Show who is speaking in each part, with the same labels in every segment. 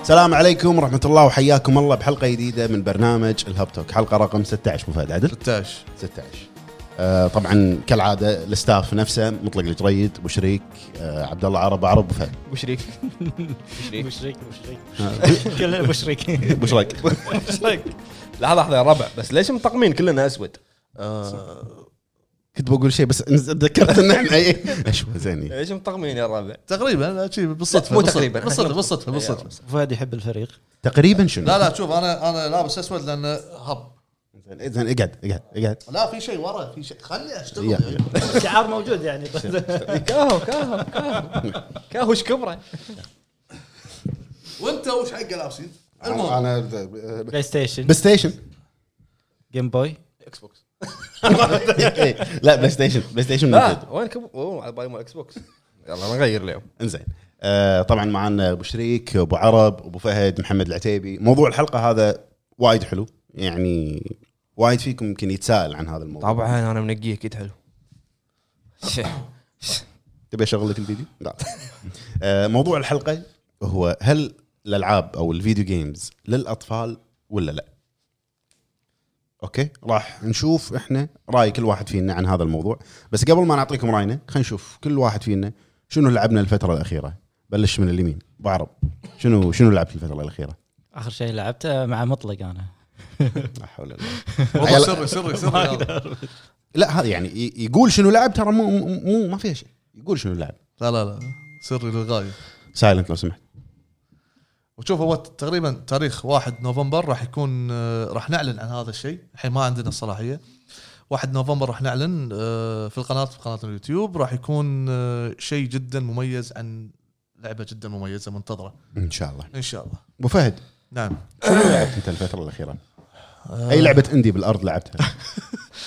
Speaker 1: السلام عليكم ورحمة الله وحياكم الله بحلقة جديدة من برنامج الهاب توك حلقة رقم 16 مو فهد عدل
Speaker 2: 16
Speaker 1: 16 آه طبعا كالعادة الستاف نفسه مطلق الجريد وشريك آه عبد الله عرب عرب وفهد
Speaker 3: مشريك
Speaker 2: مشريك.
Speaker 3: مشريك مشريك كله مشريك
Speaker 1: وشريك
Speaker 3: مشريك
Speaker 2: لحظه لحظه يا ربع بس ليش مطقمين كلنا اسود؟ آه،
Speaker 1: كنت بقول شيء بس تذكرت ان احنا إيه. اشوى زين
Speaker 2: ليش مطقمين يا ربع؟
Speaker 4: تقريبا لا شي بالصدفه
Speaker 2: مو
Speaker 4: بالصدفة.
Speaker 2: تقريبا.
Speaker 4: بالصدفه بالصدفه بالصدفه
Speaker 3: فهد يحب الفريق
Speaker 1: تقريبا شنو
Speaker 4: لا لا شوف انا انا لابس اسود لان هب
Speaker 1: زين زين، اقعد اقعد اقعد
Speaker 4: لا في شيء ورا في شيء خلني اشتغل
Speaker 1: يا- يا.
Speaker 3: الشعار موجود يعني
Speaker 2: كاهو كاهو كاهو كاهوش كبره
Speaker 4: وانت وش حق لابسين؟
Speaker 1: انا
Speaker 4: المهم
Speaker 1: أنا-
Speaker 3: بلاي ستيشن
Speaker 1: بلاي ستيشن
Speaker 3: جيم بوي
Speaker 2: اكس بوكس
Speaker 1: إيه، لا بلاي ستيشن بلاي ستيشن
Speaker 4: آه.
Speaker 1: موجود
Speaker 2: لا آه، وين كب... اوه على بالي مال اكس بوكس يلا نغير اليوم
Speaker 1: انزين آه طبعا معنا ابو شريك ابو عرب ابو فهد محمد العتيبي موضوع الحلقه هذا وايد حلو يعني وايد فيكم يمكن يتساءل عن هذا الموضوع
Speaker 2: طبعا انا منقيه اكيد حلو
Speaker 1: تبي اشغل لك الفيديو؟ لا آه موضوع الحلقه هو هل الالعاب او الفيديو جيمز للاطفال ولا لا؟ اوكي راح نشوف احنا راي كل واحد فينا عن هذا الموضوع بس قبل ما نعطيكم راينا خلينا نشوف كل واحد فينا شنو لعبنا الفتره الاخيره بلش من اليمين ابو عرب شنو شنو لعبت الفتره الاخيره؟
Speaker 3: اخر شيء لعبته مع مطلق انا
Speaker 1: لا حول الله
Speaker 4: موضوع سري سري سري هذا.
Speaker 1: لا هذا يعني ي- يقول شنو لعب ترى مو مو- مو ما فيها شيء يقول شنو لعب
Speaker 4: لا لا لا سري للغايه
Speaker 1: سايلنت لو سمحت
Speaker 4: وشوف هو تقريبا تاريخ 1 نوفمبر راح يكون آه، راح نعلن عن هذا الشيء الحين ما عندنا الصلاحيه 1 نوفمبر راح نعلن آه، في القناه في قناه اليوتيوب راح يكون آه، شيء جدا مميز عن لعبه جدا مميزه منتظره
Speaker 1: ان شاء الله
Speaker 4: ان شاء الله
Speaker 1: ابو فهد
Speaker 4: نعم
Speaker 1: شنو لعبت انت الفتره الاخيره؟ اي لعبه اندي بالارض لعبتها؟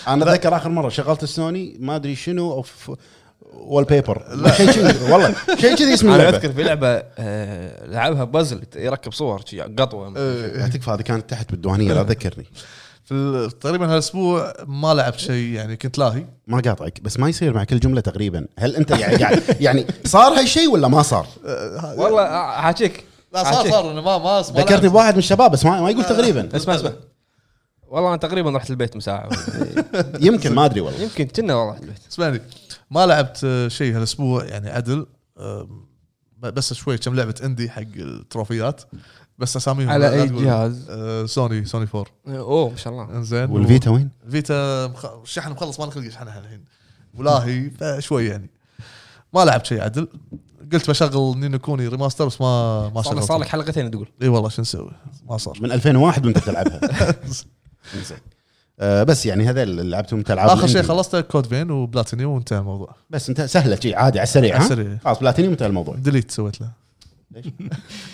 Speaker 1: انا اتذكر اخر مره شغلت السوني ما ادري شنو اوف وول بيبر شيء كذي والله شيء كذي اسم
Speaker 2: انا
Speaker 1: اللعبه
Speaker 2: اذكر في لعبه آه، لعبها بازل يركب صور شي
Speaker 4: إيه.
Speaker 2: قطوه
Speaker 1: لا تكفى هذه كانت تحت بالديوانيه لا تذكرني
Speaker 4: في ال- تقريبا هالاسبوع ما لعبت شيء يعني كنت لاهي
Speaker 1: ما قاطعك بس ما يصير مع كل جمله تقريبا هل انت يعني قاعد يعني صار هالشيء ولا ما صار؟
Speaker 2: والله آه، حاجيك
Speaker 4: لا صار
Speaker 2: حاجيك.
Speaker 4: صار أنا ما ما ما
Speaker 1: ذكرتني
Speaker 4: لعبت.
Speaker 1: بواحد من الشباب بس ما, ما يقول تقريبا
Speaker 2: اسمع اسمع والله انا تقريبا رحت البيت مساعه
Speaker 1: يمكن ما ادري والله
Speaker 2: يمكن كنا والله رحت البيت
Speaker 4: اسمعني ما لعبت آه، شيء هالاسبوع يعني عدل آم، ب- بس شوي كم لعبه عندي حق التروفيات بس اساميهم
Speaker 2: على
Speaker 4: لا- لا
Speaker 2: أي
Speaker 4: تقول.
Speaker 2: جهاز؟
Speaker 4: آه، سوني سوني 4
Speaker 2: اوه ما شاء الله
Speaker 4: انزين
Speaker 1: والفيتا وين؟
Speaker 4: فيتا مخ- شحن مخلص ما نخلق يشحنها الحين ولاهي فشوي يعني ما لعبت شيء عدل قلت بشغل نينو كوني ريماستر بس ما ما
Speaker 2: صار
Speaker 4: شغلت
Speaker 2: صار لك حلقتين تقول
Speaker 4: اي والله شو نسوي ما صار
Speaker 1: من 2001 وانت تلعبها زين. آه، بس يعني هذا اللي لعبتهم انت العاب
Speaker 4: اخر شيء
Speaker 1: الإندي.
Speaker 4: خلصته كود فين وبلاتينيوم وانتهى الموضوع
Speaker 1: بس انت سهله شي عادي على السريع
Speaker 4: على
Speaker 1: ها
Speaker 4: السريع.
Speaker 1: خلاص بلاتينيوم انتهى الموضوع
Speaker 4: ديليت سويت له
Speaker 1: ليش؟ آه.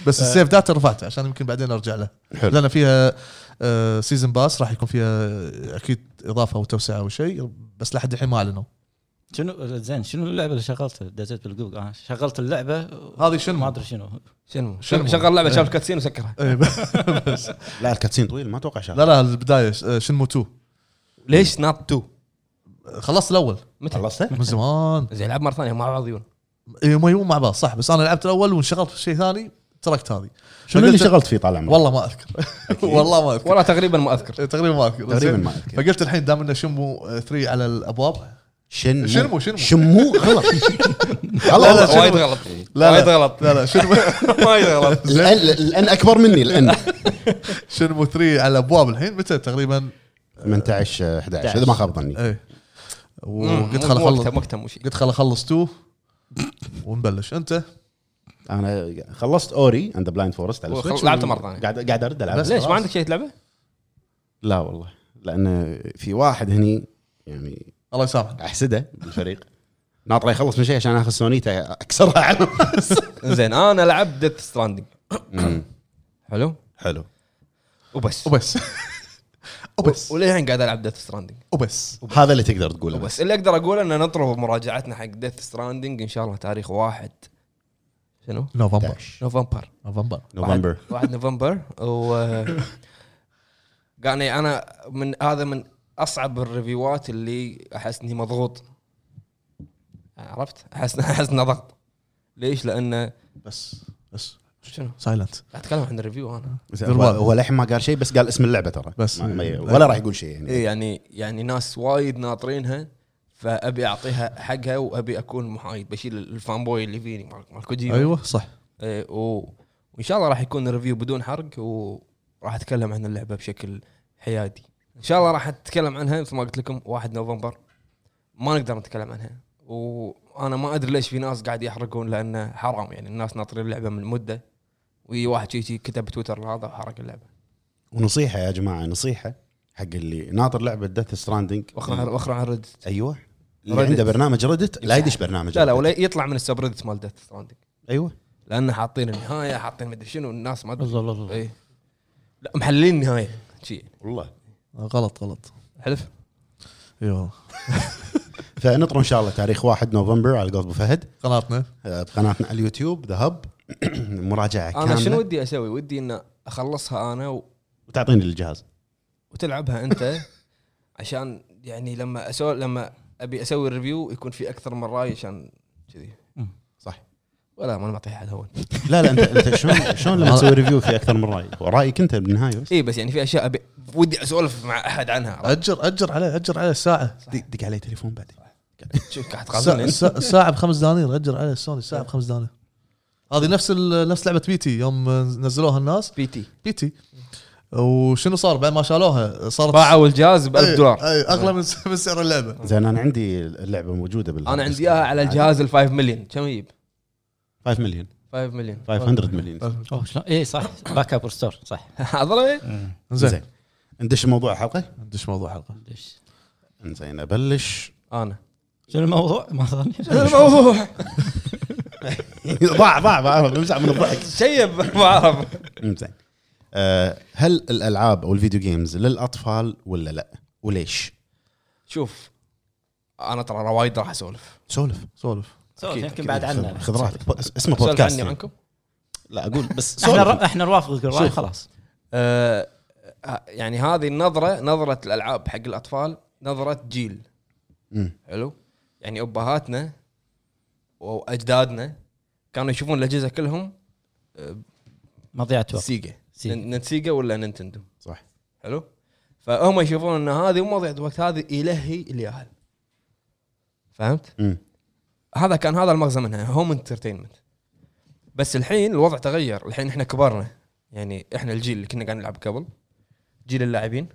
Speaker 4: بس السيف داتا رفعته عشان يمكن بعدين ارجع له
Speaker 1: حلو
Speaker 4: لان فيها سيزون باس راح يكون فيها اكيد اضافه وتوسعه او شيء بس لحد الحين ما اعلنوا
Speaker 3: شنو زين شنو اللعبه اللي شغلتها دزيت بالجوجل انا شغلت اللعبه
Speaker 4: هذه
Speaker 3: ما
Speaker 4: شنو؟
Speaker 3: ادري شنو
Speaker 2: شنو
Speaker 4: شنو؟
Speaker 2: شغل لعبه شاف الكاتسين وسكرها
Speaker 4: إيه، بس
Speaker 1: لا الكاتسين طويل ما اتوقع شغله
Speaker 4: لا لا البدايه آه، شنمو 2
Speaker 2: ليش ناب 2
Speaker 4: خلصت الاول
Speaker 2: متى
Speaker 1: خلصته؟
Speaker 4: من زمان
Speaker 2: زين العب مره ثانيه مع بعض يون
Speaker 4: إيه، هم يبون مع بعض صح بس انا لعبت الاول وانشغلت في شيء ثاني تركت هذه
Speaker 1: شنو اللي
Speaker 4: فقلت-
Speaker 1: شغلت فيه طال عمرك؟
Speaker 4: والله ما اذكر والله ما اذكر
Speaker 2: والله تقريبا ما اذكر
Speaker 4: تقريبا ما اذكر
Speaker 1: تقريبا
Speaker 4: زين.
Speaker 1: ما أذكر.
Speaker 4: فقلت الحين دام انه شنمو آه، 3 على الابواب
Speaker 1: شنمو
Speaker 4: شنمو- شنمو.
Speaker 1: شنمو غلط
Speaker 4: لا، لا،
Speaker 1: غلط
Speaker 4: شنو؟
Speaker 2: وايد غلط وايد
Speaker 4: لا.
Speaker 2: غلط
Speaker 4: لا لا شنمو
Speaker 2: وايد غلط
Speaker 1: الان الان اكبر مني الان
Speaker 4: شنمو 3 على الابواب الحين متى تقريبا
Speaker 1: 18 11 اذا آه، ما خاب ظني
Speaker 4: ايه وقلت
Speaker 2: قلت
Speaker 4: خل
Speaker 2: خلاص
Speaker 4: اخلص
Speaker 2: مكتب مكتب مو شيء
Speaker 4: قلت خل اخلص تو ونبلش انت
Speaker 1: انا خلصت اوري اند بلايند فورست على
Speaker 2: وخل-
Speaker 1: السويتش
Speaker 2: لعبته
Speaker 1: و-
Speaker 2: مرة ثانية.
Speaker 1: قاعد قاعد ارد العب
Speaker 2: ليش ما عندك شيء تلعبه؟
Speaker 1: لا والله لان في واحد هني يعني
Speaker 4: الله يسامحك
Speaker 1: احسده بالفريق ناطره يخلص من شيء عشان اخذ سونيته اكسرها على الناس.
Speaker 2: زين انا لعبت ديث ستراندنج
Speaker 1: أمم.
Speaker 2: حلو
Speaker 1: حلو
Speaker 2: وبس
Speaker 4: وبس وبس
Speaker 2: وللحين قاعد العب ديث ستراندنج
Speaker 4: وبس
Speaker 1: هذا اللي تقدر تقوله بس
Speaker 2: وبس اللي اقدر اقوله ان نطلب مراجعتنا حق ديث ستراندنج ان شاء الله تاريخ واحد شنو؟
Speaker 4: نوفمبر
Speaker 2: نوفمبر
Speaker 4: نوفمبر
Speaker 1: نوفمبر
Speaker 2: 1 نوفمبر و آه، يعني انا من هذا من اصعب الريفيوات اللي احس اني مضغوط عرفت؟ احس احس انه ضغط ليش؟ لانه
Speaker 4: بس بس
Speaker 2: شنو؟
Speaker 4: سايلنت
Speaker 2: قاعد اتكلم عن الريفيو انا
Speaker 1: زين، هو- هو للحين ما قال شيء بس قال اسم اللعبه ترى
Speaker 4: بس.
Speaker 1: ما- ما- ولا راح يقول شيء يعني
Speaker 2: إيه يعني يعني ناس وايد ناطرينها فابي اعطيها حقها وابي اكون محايد بشيل الفان بوي اللي فيني مال مال كوجيما
Speaker 4: ايوه صح
Speaker 2: إيه، و- وان شاء الله راح يكون ريفيو بدون حرق وراح اتكلم عن اللعبه بشكل حيادي ان شاء الله راح اتكلم عنها مثل ما قلت لكم 1 نوفمبر ما نقدر نتكلم عنها وانا ما ادري ليش في ناس قاعد يحرقون لانه حرام يعني الناس ناطرين اللعبه من مده وي واحد شي شي كتب بتويتر هذا وحرق اللعبه
Speaker 1: ونصيحه يا جماعه نصيحه حق اللي ناطر لعبه ديث ستراندنج
Speaker 2: واخر عن واخر عن Reddit.
Speaker 1: ايوه اللي
Speaker 2: Reddit.
Speaker 1: عنده برنامج ردت لا يدش برنامج
Speaker 2: لا لا
Speaker 1: Reddit.
Speaker 2: ولا يطلع من السبريدت مال ديث ستراندنج
Speaker 1: ايوه
Speaker 2: لانه حاطين النهايه حاطين مدري شنو الناس ما ادري
Speaker 3: الله الله الله.
Speaker 2: إيه. لا محللين النهايه شي يعني.
Speaker 1: والله
Speaker 4: غلط غلط أيوه.
Speaker 2: حلف
Speaker 4: اي والله
Speaker 1: فنطر ان شاء الله تاريخ 1 نوفمبر على قول ابو فهد
Speaker 4: قناتنا
Speaker 1: آه، بقناتنا على اليوتيوب ذا هب مراجعه كامله
Speaker 2: انا شنو ودي اسوي؟ ودي ان اخلصها انا و-
Speaker 1: وتعطيني الجهاز
Speaker 2: وتلعبها انت عشان يعني لما اسوي لما ابي اسوي ريفيو يكون في اكثر من راي عشان كذي
Speaker 1: صح
Speaker 2: ولا ما أنا معطيها حد هون
Speaker 1: لا لا انت انت شلون شلون لما تسوي ريفيو في اكثر من راي رايك انت بالنهايه بس
Speaker 2: اي بس يعني في اشياء ابي ودي اسولف مع احد عنها
Speaker 4: اجر اجر عليه اجر عليه الساعه
Speaker 1: دق دق علي تليفون بعدين
Speaker 2: شوف قاعد
Speaker 4: الساعة-
Speaker 2: تقاطعني
Speaker 4: الساعة الساعة بخمس دنانير اجر عليه سوني الساعة
Speaker 2: أيوه.
Speaker 4: بخمس دنانير هذه نفس ال- نفس لعبة بيتي يوم نزلوها الناس
Speaker 2: بي تي
Speaker 4: بيتي وشنو صار بعد ما شالوها صارت
Speaker 2: باعوا الجهاز ب
Speaker 4: إيه،
Speaker 2: 1000 دولار إيه.
Speaker 4: اي اغلى من س- من سعر اللعبة
Speaker 1: زين انا عندي اللعبه موجوده بال
Speaker 2: انا عندي اياها
Speaker 1: آه،
Speaker 2: على الجهاز ال 5 مليون كم يجيب؟
Speaker 1: 5 مليون
Speaker 2: 5 مليون
Speaker 1: 500 مليون
Speaker 3: أوه، شلون اي صح باك اب ستور صح
Speaker 2: حضره
Speaker 3: أمم.
Speaker 4: زين
Speaker 1: زين ندش موضوع الحلقه
Speaker 4: ندش موضوع الحلقة
Speaker 3: ليش؟
Speaker 1: زين ابلش
Speaker 2: انا
Speaker 3: شنو الموضوع؟ ما ظني
Speaker 2: الموضوع
Speaker 1: ضاع ضاع ضاع بمزح من الضحك
Speaker 2: شيب ما اعرف
Speaker 1: زين آه، هل الالعاب او الفيديو جيمز للاطفال ولا لا وليش
Speaker 2: شوف انا ترى وايد راح اسولف
Speaker 1: سولف
Speaker 4: سولف
Speaker 3: سولف،
Speaker 2: أكيد،
Speaker 3: يمكن
Speaker 2: أكيد.
Speaker 3: بعد عنا
Speaker 1: خذ راحتك بو- اس- اسمه
Speaker 2: اسولف
Speaker 1: بودكاست
Speaker 2: عني
Speaker 1: يعني.
Speaker 2: عنكم
Speaker 1: لا اقول بس
Speaker 3: احنا
Speaker 1: سولف
Speaker 3: را- احنا نوافقك الراي
Speaker 1: شوف.
Speaker 3: خلاص
Speaker 2: آه، يعني هذه النظره نظره الالعاب حق الاطفال نظره جيل
Speaker 1: مم.
Speaker 2: حلو يعني ابهاتنا واجدادنا كانوا يشوفون الاجهزه كلهم
Speaker 3: مضيعة وقت
Speaker 2: سيجا
Speaker 3: سيجا.
Speaker 2: نن- سيجا ولا نينتندو
Speaker 1: صح
Speaker 2: حلو فهم يشوفون ان هذه مو مضيعه وقت هذه يلهي الياهل فهمت؟
Speaker 1: مم.
Speaker 2: هذا كان هذا المغزى منها هوم انترتينمنت بس الحين الوضع تغير الحين احنا كبرنا يعني احنا الجيل اللي كنا قاعد نلعب قبل جيل اللاعبين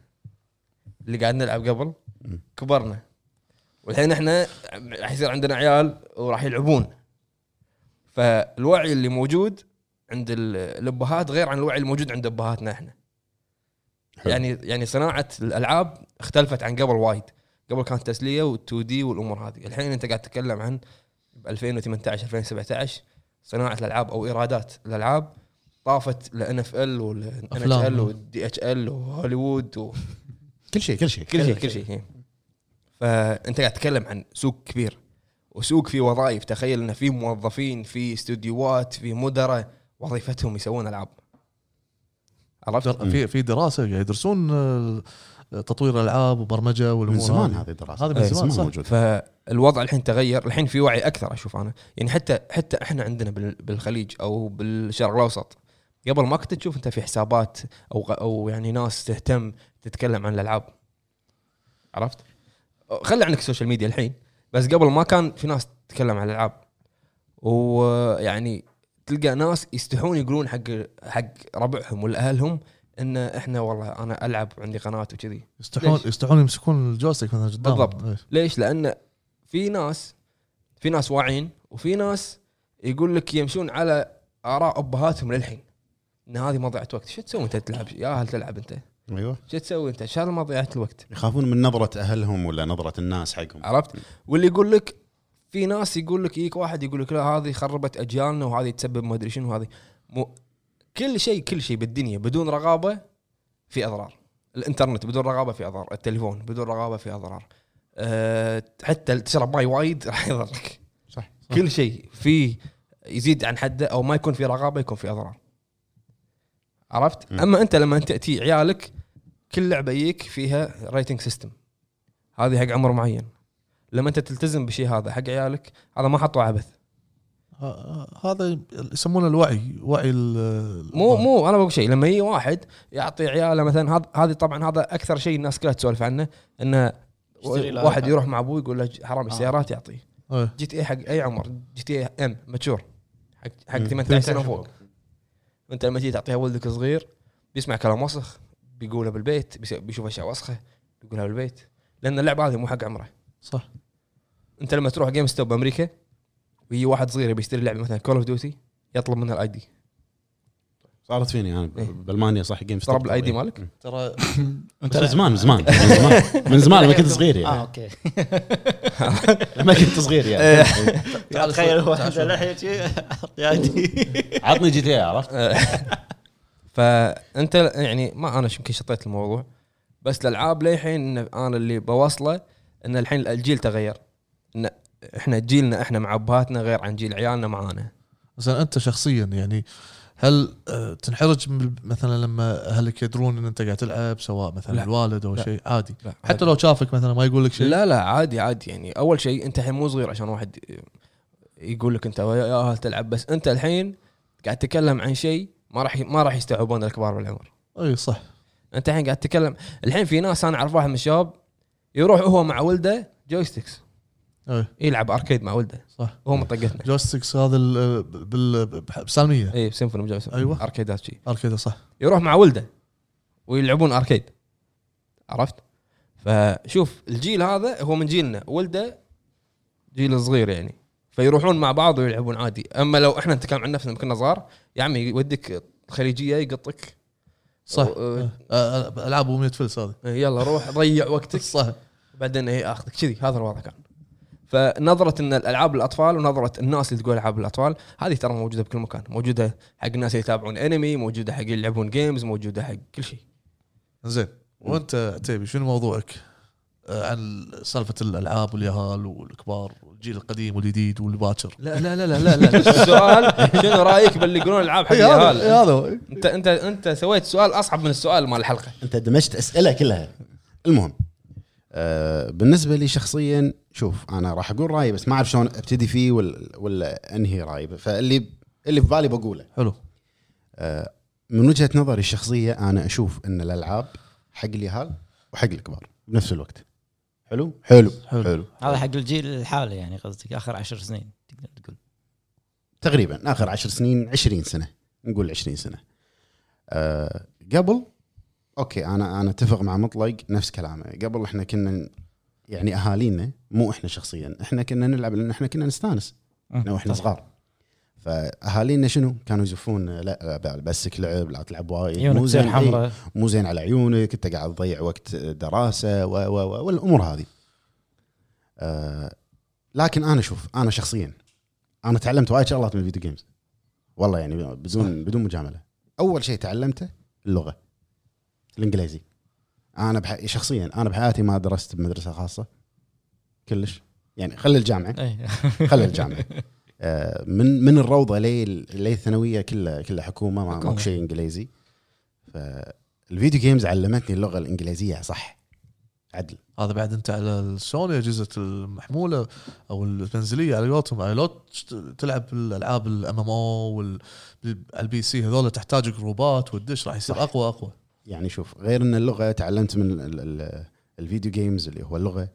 Speaker 2: اللي قاعد نلعب قبل
Speaker 1: مم.
Speaker 2: كبرنا والحين احنا راح يصير عندنا عيال وراح يلعبون فالوعي اللي موجود عند ال- الابهات غير عن الوعي الموجود عند ابهاتنا احنا
Speaker 1: حلو.
Speaker 2: يعني يعني صناعه الالعاب اختلفت عن قبل وايد قبل كانت تسليه وال2 دي والامور هذه الحين انت قاعد تتكلم عن 2018 2017 صناعه الالعاب او ايرادات الالعاب طافت لان اف ال والان اتش
Speaker 4: أفلام.
Speaker 2: ال والدي اتش ال وهوليوود و...
Speaker 1: كل شيء كل شيء
Speaker 2: كل شيء كل شيء فانت قاعد تتكلم عن سوق كبير وسوق فيه وظائف تخيل انه في موظفين في استديوهات في مدراء وظيفتهم يسوون العاب عرفت؟
Speaker 4: در- في في دراسة قاعد يدرسون آه، تطوير الالعاب وبرمجة
Speaker 1: من
Speaker 4: والامور
Speaker 1: زمان
Speaker 4: هذه.
Speaker 1: هذه الدراسه
Speaker 4: هذه من
Speaker 1: إيه،
Speaker 4: زمان، صح.
Speaker 1: موجوده
Speaker 2: فالوضع الحين تغير الحين في وعي اكثر اشوف انا يعني حتى حتى احنا عندنا بال- بالخليج او بالشرق الاوسط قبل ما كنت تشوف انت في حسابات او غ- او يعني ناس تهتم تتكلم عن الالعاب عرفت؟ خلي عنك السوشيال ميديا الحين بس قبل ما كان في ناس تتكلم عن الالعاب ويعني تلقى ناس يستحون يقولون حق حق ربعهم ولا اهلهم ان احنا والله انا العب عندي قناه وكذي
Speaker 4: يستحون
Speaker 2: ليش؟
Speaker 4: يستحون يمسكون الجويستيك مثلا قدام
Speaker 2: بالضبط.
Speaker 4: إيه.
Speaker 2: ليش؟ لان في ناس في ناس واعين وفي ناس يقول لك يمشون على اراء ابهاتهم للحين ان هذه مضيعه وقت، شو تسوي انت تلعب؟ يا هل تلعب انت؟
Speaker 1: ايوه
Speaker 2: شو تسوي انت؟ شال مضيعه الوقت،
Speaker 1: يخافون من نظره اهلهم ولا نظره الناس حقهم
Speaker 2: عرفت؟ واللي يقول لك في ناس يقول لك يجيك واحد يقول لك لا هذه خربت اجيالنا وهذه تسبب ما ادري شنو هذه مو كل شيء كل شيء بالدنيا بدون رقابه في اضرار الانترنت بدون رقابه في اضرار التليفون بدون رقابه في اضرار أه حتى تشرب ماي وايد راح يضرك
Speaker 1: صح
Speaker 2: كل شيء فيه يزيد عن حده او ما يكون في رقابه يكون في اضرار عرفت
Speaker 1: مم.
Speaker 2: اما انت لما تاتي عيالك كل لعبه يجيك فيها ريتنج سيستم هذه حق عمر معين لما انت تلتزم بشيء هذا حق عيالك هذا ما حطوه عبث
Speaker 4: ه- آه، هذا يسمونه الوعي وعي ال-
Speaker 2: مو مو انا بقول شيء لما يجي واحد يعطي عياله مثلا هذا هذه طبعا هذا اكثر شيء الناس كلها تسولف عنه انه
Speaker 3: اشتري له
Speaker 2: واحد
Speaker 3: iPad.
Speaker 2: يروح مع ابوه يقول له ج- حرام السيارات يعطيه
Speaker 4: إيه.
Speaker 2: جي تي اي حق اي عمر جي تي اي ام ماتشور حق حق
Speaker 1: مم.
Speaker 2: 18 سنه فوق وانت لما تيجي تعطيها ولدك صغير بيسمع كلام وسخ بيقوله بالبيت بيس- بيشوف اشياء وسخه بيقولها بالبيت لان اللعبه هذه مو حق عمره
Speaker 4: صح
Speaker 2: انت لما تروح جيم ستوب بامريكا ويجي واحد صغير يبي يشتري لعبه مثلا كول اوف ديوتي يطلب منها الاي دي
Speaker 1: صارت فيني انا
Speaker 2: إيه.
Speaker 1: ب- بالمانيا صح جيم ستوب
Speaker 2: ضرب الاي دي مالك
Speaker 4: ترى
Speaker 1: بس من زمان من زمان من زمان من زمان لما كنت صغير
Speaker 3: اه
Speaker 1: يعني
Speaker 3: اوكي
Speaker 1: لما كنت صغير يعني
Speaker 4: تعال
Speaker 3: تخيل
Speaker 4: شوي، تعال
Speaker 3: واحد
Speaker 4: شوي.
Speaker 3: لحيه شي
Speaker 1: عطني جي تي إيه، عرفت
Speaker 2: فانت يعني ما انا يمكن شطيت الموضوع بس الالعاب للحين إن انا اللي بوصله ان الحين الجيل تغير ان احنا جيلنا احنا مع ابهاتنا غير عن جيل عيالنا معانا
Speaker 4: مثلا انت شخصيا يعني هل آه، تنحرج من- مثلا لما اهلك يدرون ان انت قاعد تلعب سواء مثلا
Speaker 2: لا.
Speaker 4: الوالد او
Speaker 2: لا.
Speaker 4: شيء عادي
Speaker 2: لا
Speaker 4: حتى لو شافك مثلا ما يقول لك شيء
Speaker 2: لا لا عادي عادي يعني اول شيء انت الحين مو صغير عشان واحد يقول لك انت يا اهل تلعب بس انت الحين قاعد تتكلم عن شيء ما راح ما راح يستوعبون الكبار بالعمر
Speaker 4: اي إيه، صح
Speaker 2: انت الحين قاعد تتكلم الحين في ناس انا اعرف واحد من الشباب يروح هو مع ولده جويستكس
Speaker 4: اي
Speaker 2: يلعب اركيد مع ولده
Speaker 4: صح
Speaker 2: وهو منطقتنا
Speaker 4: جوستكس إيه، هذا ال- بال بح- بسالميه
Speaker 2: اي سيمفوني مجال
Speaker 4: أيوة.
Speaker 2: اركيدات شي
Speaker 4: اركيده صح
Speaker 2: يروح مع ولده ويلعبون اركيد عرفت؟ فشوف الجيل هذا هو من جيلنا ولده جيل صغير يعني فيروحون مع بعض ويلعبون عادي اما لو احنا نتكلم عن نفسنا لما كنا صغار يا عمي يوديك خليجيه يقطك
Speaker 4: صح
Speaker 2: و-
Speaker 4: آه، آه، العاب امنيه فلس هذه
Speaker 2: يلا روح ضيع وقتك
Speaker 4: صح
Speaker 2: بعدين هي اخذك كذي هذا الوضع كان فنظرة ان الالعاب للاطفال ونظرة الناس اللي تقول العاب للاطفال هذه ترى موجودة بكل مكان، موجودة حق الناس اللي يتابعون انمي، موجودة حق اللي يلعبون جيمز، موجودة حق كل شيء.
Speaker 4: زين وانت عتيبي شنو موضوعك آه، عن سالفه الالعاب واليهال والكبار والجيل القديم والجديد والباكر
Speaker 2: لا لا لا لا لا, لا. السؤال شنو رايك باللي يقولون العاب حق
Speaker 4: إي إيه، هذا- إي
Speaker 2: الهال؟
Speaker 4: هذا هو.
Speaker 2: انت انت انت سويت سؤال اصعب من السؤال مال الحلقة.
Speaker 1: انت دمجت اسئله كلها المهم آه بالنسبه لي شخصيا شوف انا راح اقول رايي بس ما اعرف شلون ابتدي فيه ولا, ولا انهي رايي فاللي اللي في بالي بقوله
Speaker 4: حلو
Speaker 1: آه من وجهه نظري الشخصيه انا اشوف ان الالعاب حق اليهال وحق الكبار بنفس الوقت حلو حلو حلو,
Speaker 4: حلو.
Speaker 1: حلو.
Speaker 3: هذا حق الجيل الحالي يعني قصدك اخر عشر سنين تقدر تقول
Speaker 1: تقريبا اخر عشر سنين عشرين سنه نقول عشرين سنه آه قبل اوكي انا انا اتفق مع مطلق نفس كلامه قبل احنا كنا ن- يعني اهالينا مو احنا شخصيا احنا كنا نلعب لان احنا كنا نستانس احنا واحنا نعم،
Speaker 3: طيب.
Speaker 1: صغار فاهالينا شنو كانوا يزفون لا ب- بسك لعب لا تلعب وايد
Speaker 3: عيونك
Speaker 1: مو
Speaker 3: تصير
Speaker 1: زين إيه،
Speaker 3: حمراء
Speaker 1: مو زين على عيونك انت قاعد تضيع وقت دراسه و و و والامور هذه آه لكن انا شوف انا شخصيا انا تعلمت وايد شغلات من الفيديو جيمز والله يعني بدون بدون مجامله اول شيء تعلمته اللغه الانجليزي انا بح... شخصيا انا بحياتي ما درست بمدرسه خاصه كلش يعني خلي الجامعه
Speaker 3: إيه.
Speaker 1: خلي الجامعه آه، من من الروضه لل- للثانويه كلها كلها حكومه ما
Speaker 2: حكومة.
Speaker 1: ماكو شيء انجليزي فالفيديو جيمز علمتني اللغه الانجليزيه صح عدل
Speaker 4: هذا بعد انت على السوني اجهزه المحموله او المنزليه على قولتهم على لو تلعب الالعاب الام ام او والبي سي هذول تحتاج جروبات والدش راح يصير
Speaker 1: صح.
Speaker 4: اقوى اقوى
Speaker 1: يعني شوف غير ان اللغه تعلمت من ال- ال- الفيديو جيمز اللي هو اللغه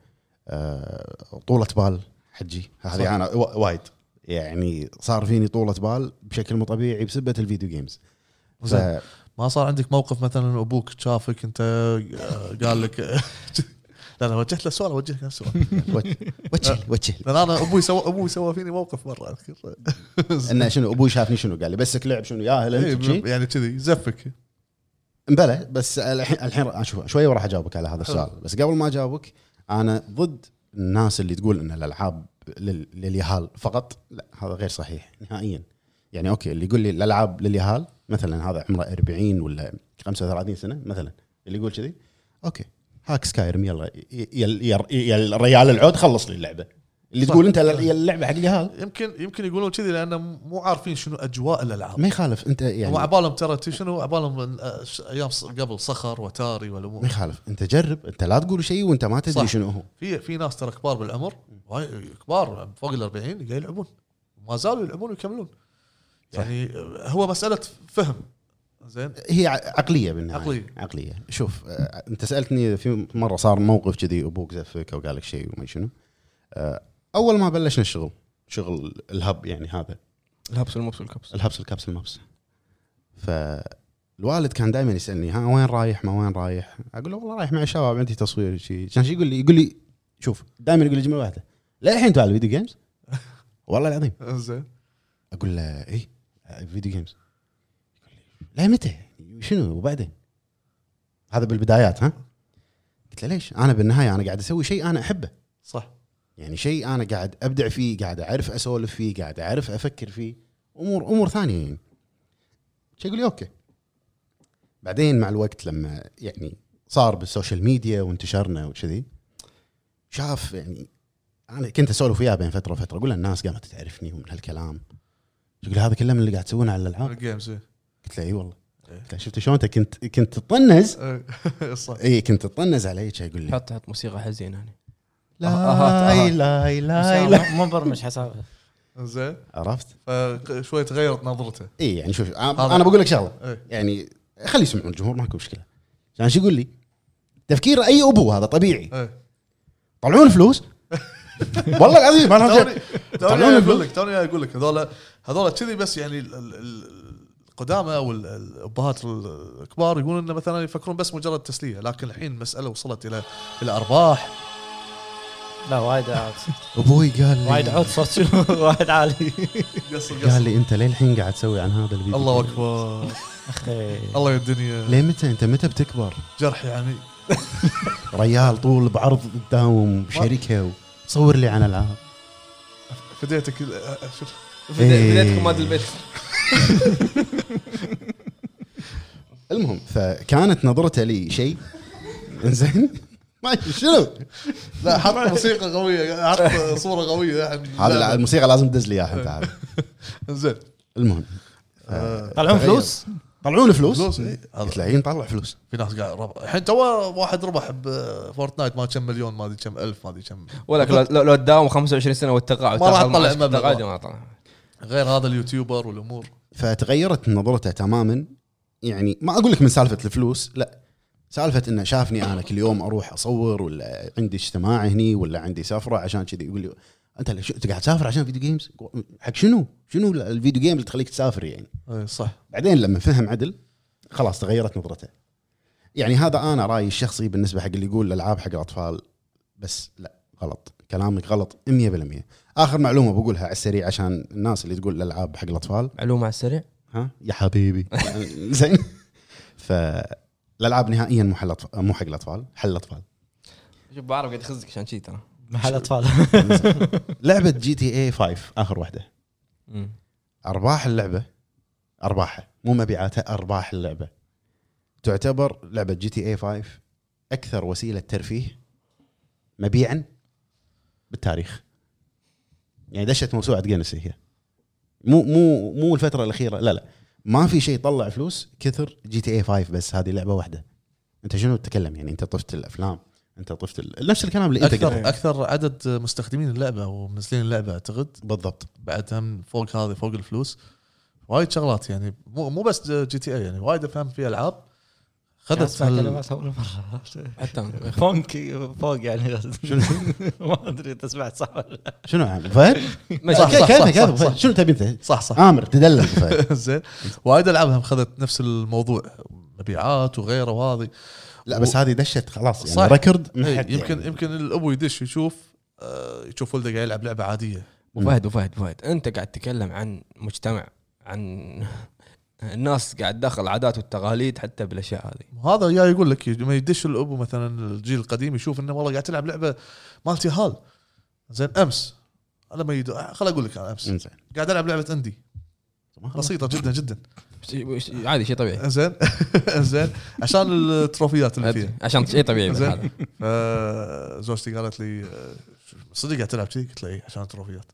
Speaker 1: آه، طولة بال حجي
Speaker 4: صح.
Speaker 1: هذه انا وا- وايد يعني صار فيني طولة بال بشكل مو طبيعي بسبة الفيديو جيمز ف...
Speaker 4: زين ما صار عندك موقف مثلا ابوك شافك انت آه، قال لك لا انا وجهت له سؤال اوجهك نفس السؤال
Speaker 1: وتشل وتشل
Speaker 4: لان انا ابوي سوى ابوي سوى فيني موقف مره اذكر
Speaker 1: انه شنو ابوي شافني شنو قال لي بسك لعب شنو ياهل انت شي؟
Speaker 4: إيه، يعني كذي زفك
Speaker 1: بلى بس الحين الحين شوف شوي وراح اجاوبك على هذا السؤال بس قبل ما اجاوبك انا ضد الناس اللي تقول ان الالعاب لل- لليهال فقط لا هذا غير صحيح نهائيا يعني اوكي اللي يقول لي الالعاب لليهال مثلا هذا عمره 40 ولا 35 سنه مثلا اللي يقول كذي اوكي هاك سكايرم يلا ي- يل- يل- يل- الريال العود خلص لي اللعبه اللي
Speaker 4: صح.
Speaker 1: تقول انت ال- يل- اللعبه حق اليهال
Speaker 4: يمكن يمكن يقولون كذي لانهم مو عارفين شنو اجواء الالعاب
Speaker 1: ما يخالف انت
Speaker 4: يعني هو
Speaker 1: يعني
Speaker 4: عبالهم ترى تي شنو عبالهم من آه، ش- ايام ص- قبل صخر وتاري
Speaker 1: ما
Speaker 4: والامور
Speaker 1: يخالف انت جرب انت لا تقول شيء وانت ما
Speaker 4: صح.
Speaker 1: تدري شنو هو
Speaker 4: في في ناس ترى كبار بالعمر واي- كبار فوق ال 40 قاعد يلعبون وما زالوا يلعبون ويكملون يعني آه، هو مساله فهم زين
Speaker 1: هي ع- عقليه بالنهايه
Speaker 4: عقلية.
Speaker 1: عقليه شوف آه، انت سالتني في مره صار موقف كذي ابوك زفك او قال لك شيء وما شنو آه، اول ما بلشنا الشغل شغل الهب يعني هذا
Speaker 2: الهبس والمبس والكبس
Speaker 1: الهبس الكبس المبس فالوالد كان دائما يسالني ها وين رايح ما وين رايح اقول له والله رايح مع الشباب عندي تصوير شيء كان شي يقول لي يقول لي شوف دائما يقول لي جمله واحده للحين تلعب فيديو جيمز والله العظيم
Speaker 4: زين
Speaker 1: اقول له إيه؟ اي فيديو جيمز لا متى شنو وبعدين هذا بالبدايات ها قلت له ليش انا بالنهايه انا قاعد اسوي شيء انا احبه
Speaker 4: صح
Speaker 1: يعني شيء انا قاعد ابدع فيه قاعد اعرف اسولف فيه قاعد اعرف افكر فيه امور امور ثانيه يعني شي يقول لي اوكي بعدين مع الوقت لما يعني صار بالسوشيال ميديا وانتشرنا وكذي شاف يعني انا كنت اسولف وياه بين فتره وفتره اقول له الناس قامت تعرفني ومن هالكلام يقول لي هذا كله من اللي قاعد تسوونه على الالعاب
Speaker 4: الجيمز إيه.
Speaker 1: قلت له اي والله قلت له شفت شلون انت كنت كنت تطنز
Speaker 4: إيه، صح
Speaker 1: اي كنت تطنز علي شي يقول لي
Speaker 2: حط حط موسيقى حزينه هنا آه،
Speaker 1: لا لا لا لا لا
Speaker 3: مو مبرمج حسابه
Speaker 4: زين
Speaker 1: عرفت
Speaker 4: فشوي تغيرت نظرته
Speaker 1: اي يعني شوف
Speaker 4: هذا-
Speaker 1: انا أنا بقول لك شغله
Speaker 4: إيه.
Speaker 1: يعني خلي يسمعون الجمهور ماكو مشكله عشان يعني شو يقول لي؟ تفكير اي ابو هذا طبيعي
Speaker 4: إيه.
Speaker 1: طلعون فلوس والله العظيم انا
Speaker 4: توني
Speaker 1: هرجع-
Speaker 4: توني
Speaker 1: طلعون
Speaker 4: اقول طيب، لك توني اقول لك هذول هذول كذي بس يعني ال- ال- ال- القدامى والابهات الكبار يقولون انه مثلا يفكرون بس مجرد تسليه لكن الحين المساله وصلت الى الى ارباح
Speaker 3: لا وايد عاد-
Speaker 1: ابوي قال
Speaker 3: وايد
Speaker 1: لي
Speaker 3: عود صوت شنو وايد عالي
Speaker 4: قصر
Speaker 1: قال
Speaker 4: قصر
Speaker 1: لي انت للحين قاعد تسوي عن هذا الفيديو
Speaker 4: الله اكبر
Speaker 3: أخي.
Speaker 4: الله يا الدنيا
Speaker 1: ليه متى انت متى بتكبر؟
Speaker 4: جرح يعني
Speaker 1: ريال طول بعرض قدام بشركه صور لي عن العاب
Speaker 4: فديتك ال- أ- أ- شو-
Speaker 1: إيه.
Speaker 2: بدايتكم ماد البيت
Speaker 1: المهم فكانت نظرته لي شيء زين ما شنو
Speaker 4: لا حط موسيقى قويه حط صوره قويه يعني
Speaker 1: هذا الموسيقى لازم تدز لي اياها انت هذا.
Speaker 4: زين آه.
Speaker 1: المهم
Speaker 3: طلعون فلوس
Speaker 1: طلعون فلوس
Speaker 4: فلوس، إيه.
Speaker 1: قلت له عين طلع فلوس
Speaker 4: في ناس قاعد ربح الحين تو واحد ربح بفورتنايت ما كم مليون ما ادري كم الف ما ادري كم
Speaker 2: ولك لو- لو لو تداوم 25 سنه والتقاعد
Speaker 4: ما راح
Speaker 2: تاخذ
Speaker 4: تطلع
Speaker 2: معك
Speaker 4: مبلغ.
Speaker 2: تقاعد ما طلع
Speaker 4: غير هذا اليوتيوبر والامور
Speaker 1: فتغيرت نظرته تماما يعني ما اقول لك من سالفه الفلوس لا سالفه انه شافني انا كل يوم اروح اصور ولا عندي اجتماع هني ولا عندي سفره عشان كذي يقول لي انت ليش- انت قاعد تسافر عشان فيديو جيمز حق شنو؟ شنو الفيديو جيمز اللي تخليك تسافر يعني؟
Speaker 4: اي إيه، صح
Speaker 1: بعدين لما فهم عدل خلاص تغيرت نظرته يعني هذا انا رايي الشخصي بالنسبه حق اللي يقول الالعاب حق الاطفال بس لا غلط كلامك غلط 100% اخر معلومه بقولها على السريع عشان الناس اللي تقول الالعاب حق الاطفال
Speaker 2: معلومه على السريع
Speaker 1: ها يا حبيبي زين فالالعاب نهائيا مو حق الأطف- مو حق الاطفال حل الاطفال
Speaker 2: شوف بعرف قاعد يخزك عشان شي ترى
Speaker 3: محل اطفال
Speaker 1: لعبه جي تي إيه اي 5 اخر واحده ارباح اللعبه ارباحها مو مبيعاتها ارباح اللعبه تعتبر لعبه جي تي إيه اي 5 اكثر وسيله ترفيه مبيعا بالتاريخ يعني دشت موسوعه جينيس هي مو مو مو الفتره الاخيره لا لا ما في شيء طلع فلوس كثر جي تي اي 5 بس هذه لعبه واحده انت شنو تتكلم يعني انت طفت الافلام انت طفت ال- نفس الكلام اللي انت قلته
Speaker 4: اكثر اكثر عدد مستخدمين اللعبه ومنزلين اللعبه اعتقد
Speaker 1: بالضبط
Speaker 4: بعد هم فوق هذه فوق الفلوس وايد شغلات يعني مو مو بس جي تي اي يعني وايد افلام في العاب خذت
Speaker 3: اسمع
Speaker 4: هال...
Speaker 3: كلمات اول مره
Speaker 2: حتى أنا.
Speaker 3: فونك فوق يعني ما ادري انت سمعت صح ولا لا
Speaker 1: شنو عم فهد؟
Speaker 2: ماشي.
Speaker 4: صح، صح،
Speaker 1: كيفك
Speaker 4: صح،
Speaker 1: كيفك
Speaker 4: صح.
Speaker 1: فهد؟ شنو تبي انت؟
Speaker 4: صح صح
Speaker 1: عامر تدلل فهد
Speaker 4: زين وايد العاب هم خذت نفس الموضوع مبيعات وغيره وهذه
Speaker 1: لا بس هذه دشت خلاص يعني
Speaker 4: صح.
Speaker 1: ريكورد ما حد
Speaker 4: إيه، يمكن
Speaker 1: يعني.
Speaker 4: يمكن الابو يدش يشوف آه، يشوف ولده قاعد يلعب لعبه عاديه
Speaker 2: وفهد وفهد وفهد انت قاعد تتكلم عن مجتمع عن الناس قاعد داخل العادات والتقاليد حتى بالاشياء هذه
Speaker 4: هذا يا يقول لك لما يدش الابو مثلا الجيل القديم يشوف انه والله قاعد تلعب لعبه مالتي هال زين امس لما يدو خل اقول لك انا امس
Speaker 1: انزين
Speaker 4: قاعد العب لعبه اندي بسيطه جدا جدا
Speaker 2: شي- شي- عادي شيء طبيعي
Speaker 4: زين زين عشان التروفيات اللي
Speaker 2: أدري.
Speaker 4: فيها
Speaker 2: عشان شيء طبيعي بس
Speaker 4: زين.
Speaker 2: هذا
Speaker 4: آه، زوجتي قالت لي آه، صدق قاعد تلعب كذي قلت لها اي عشان التروفيات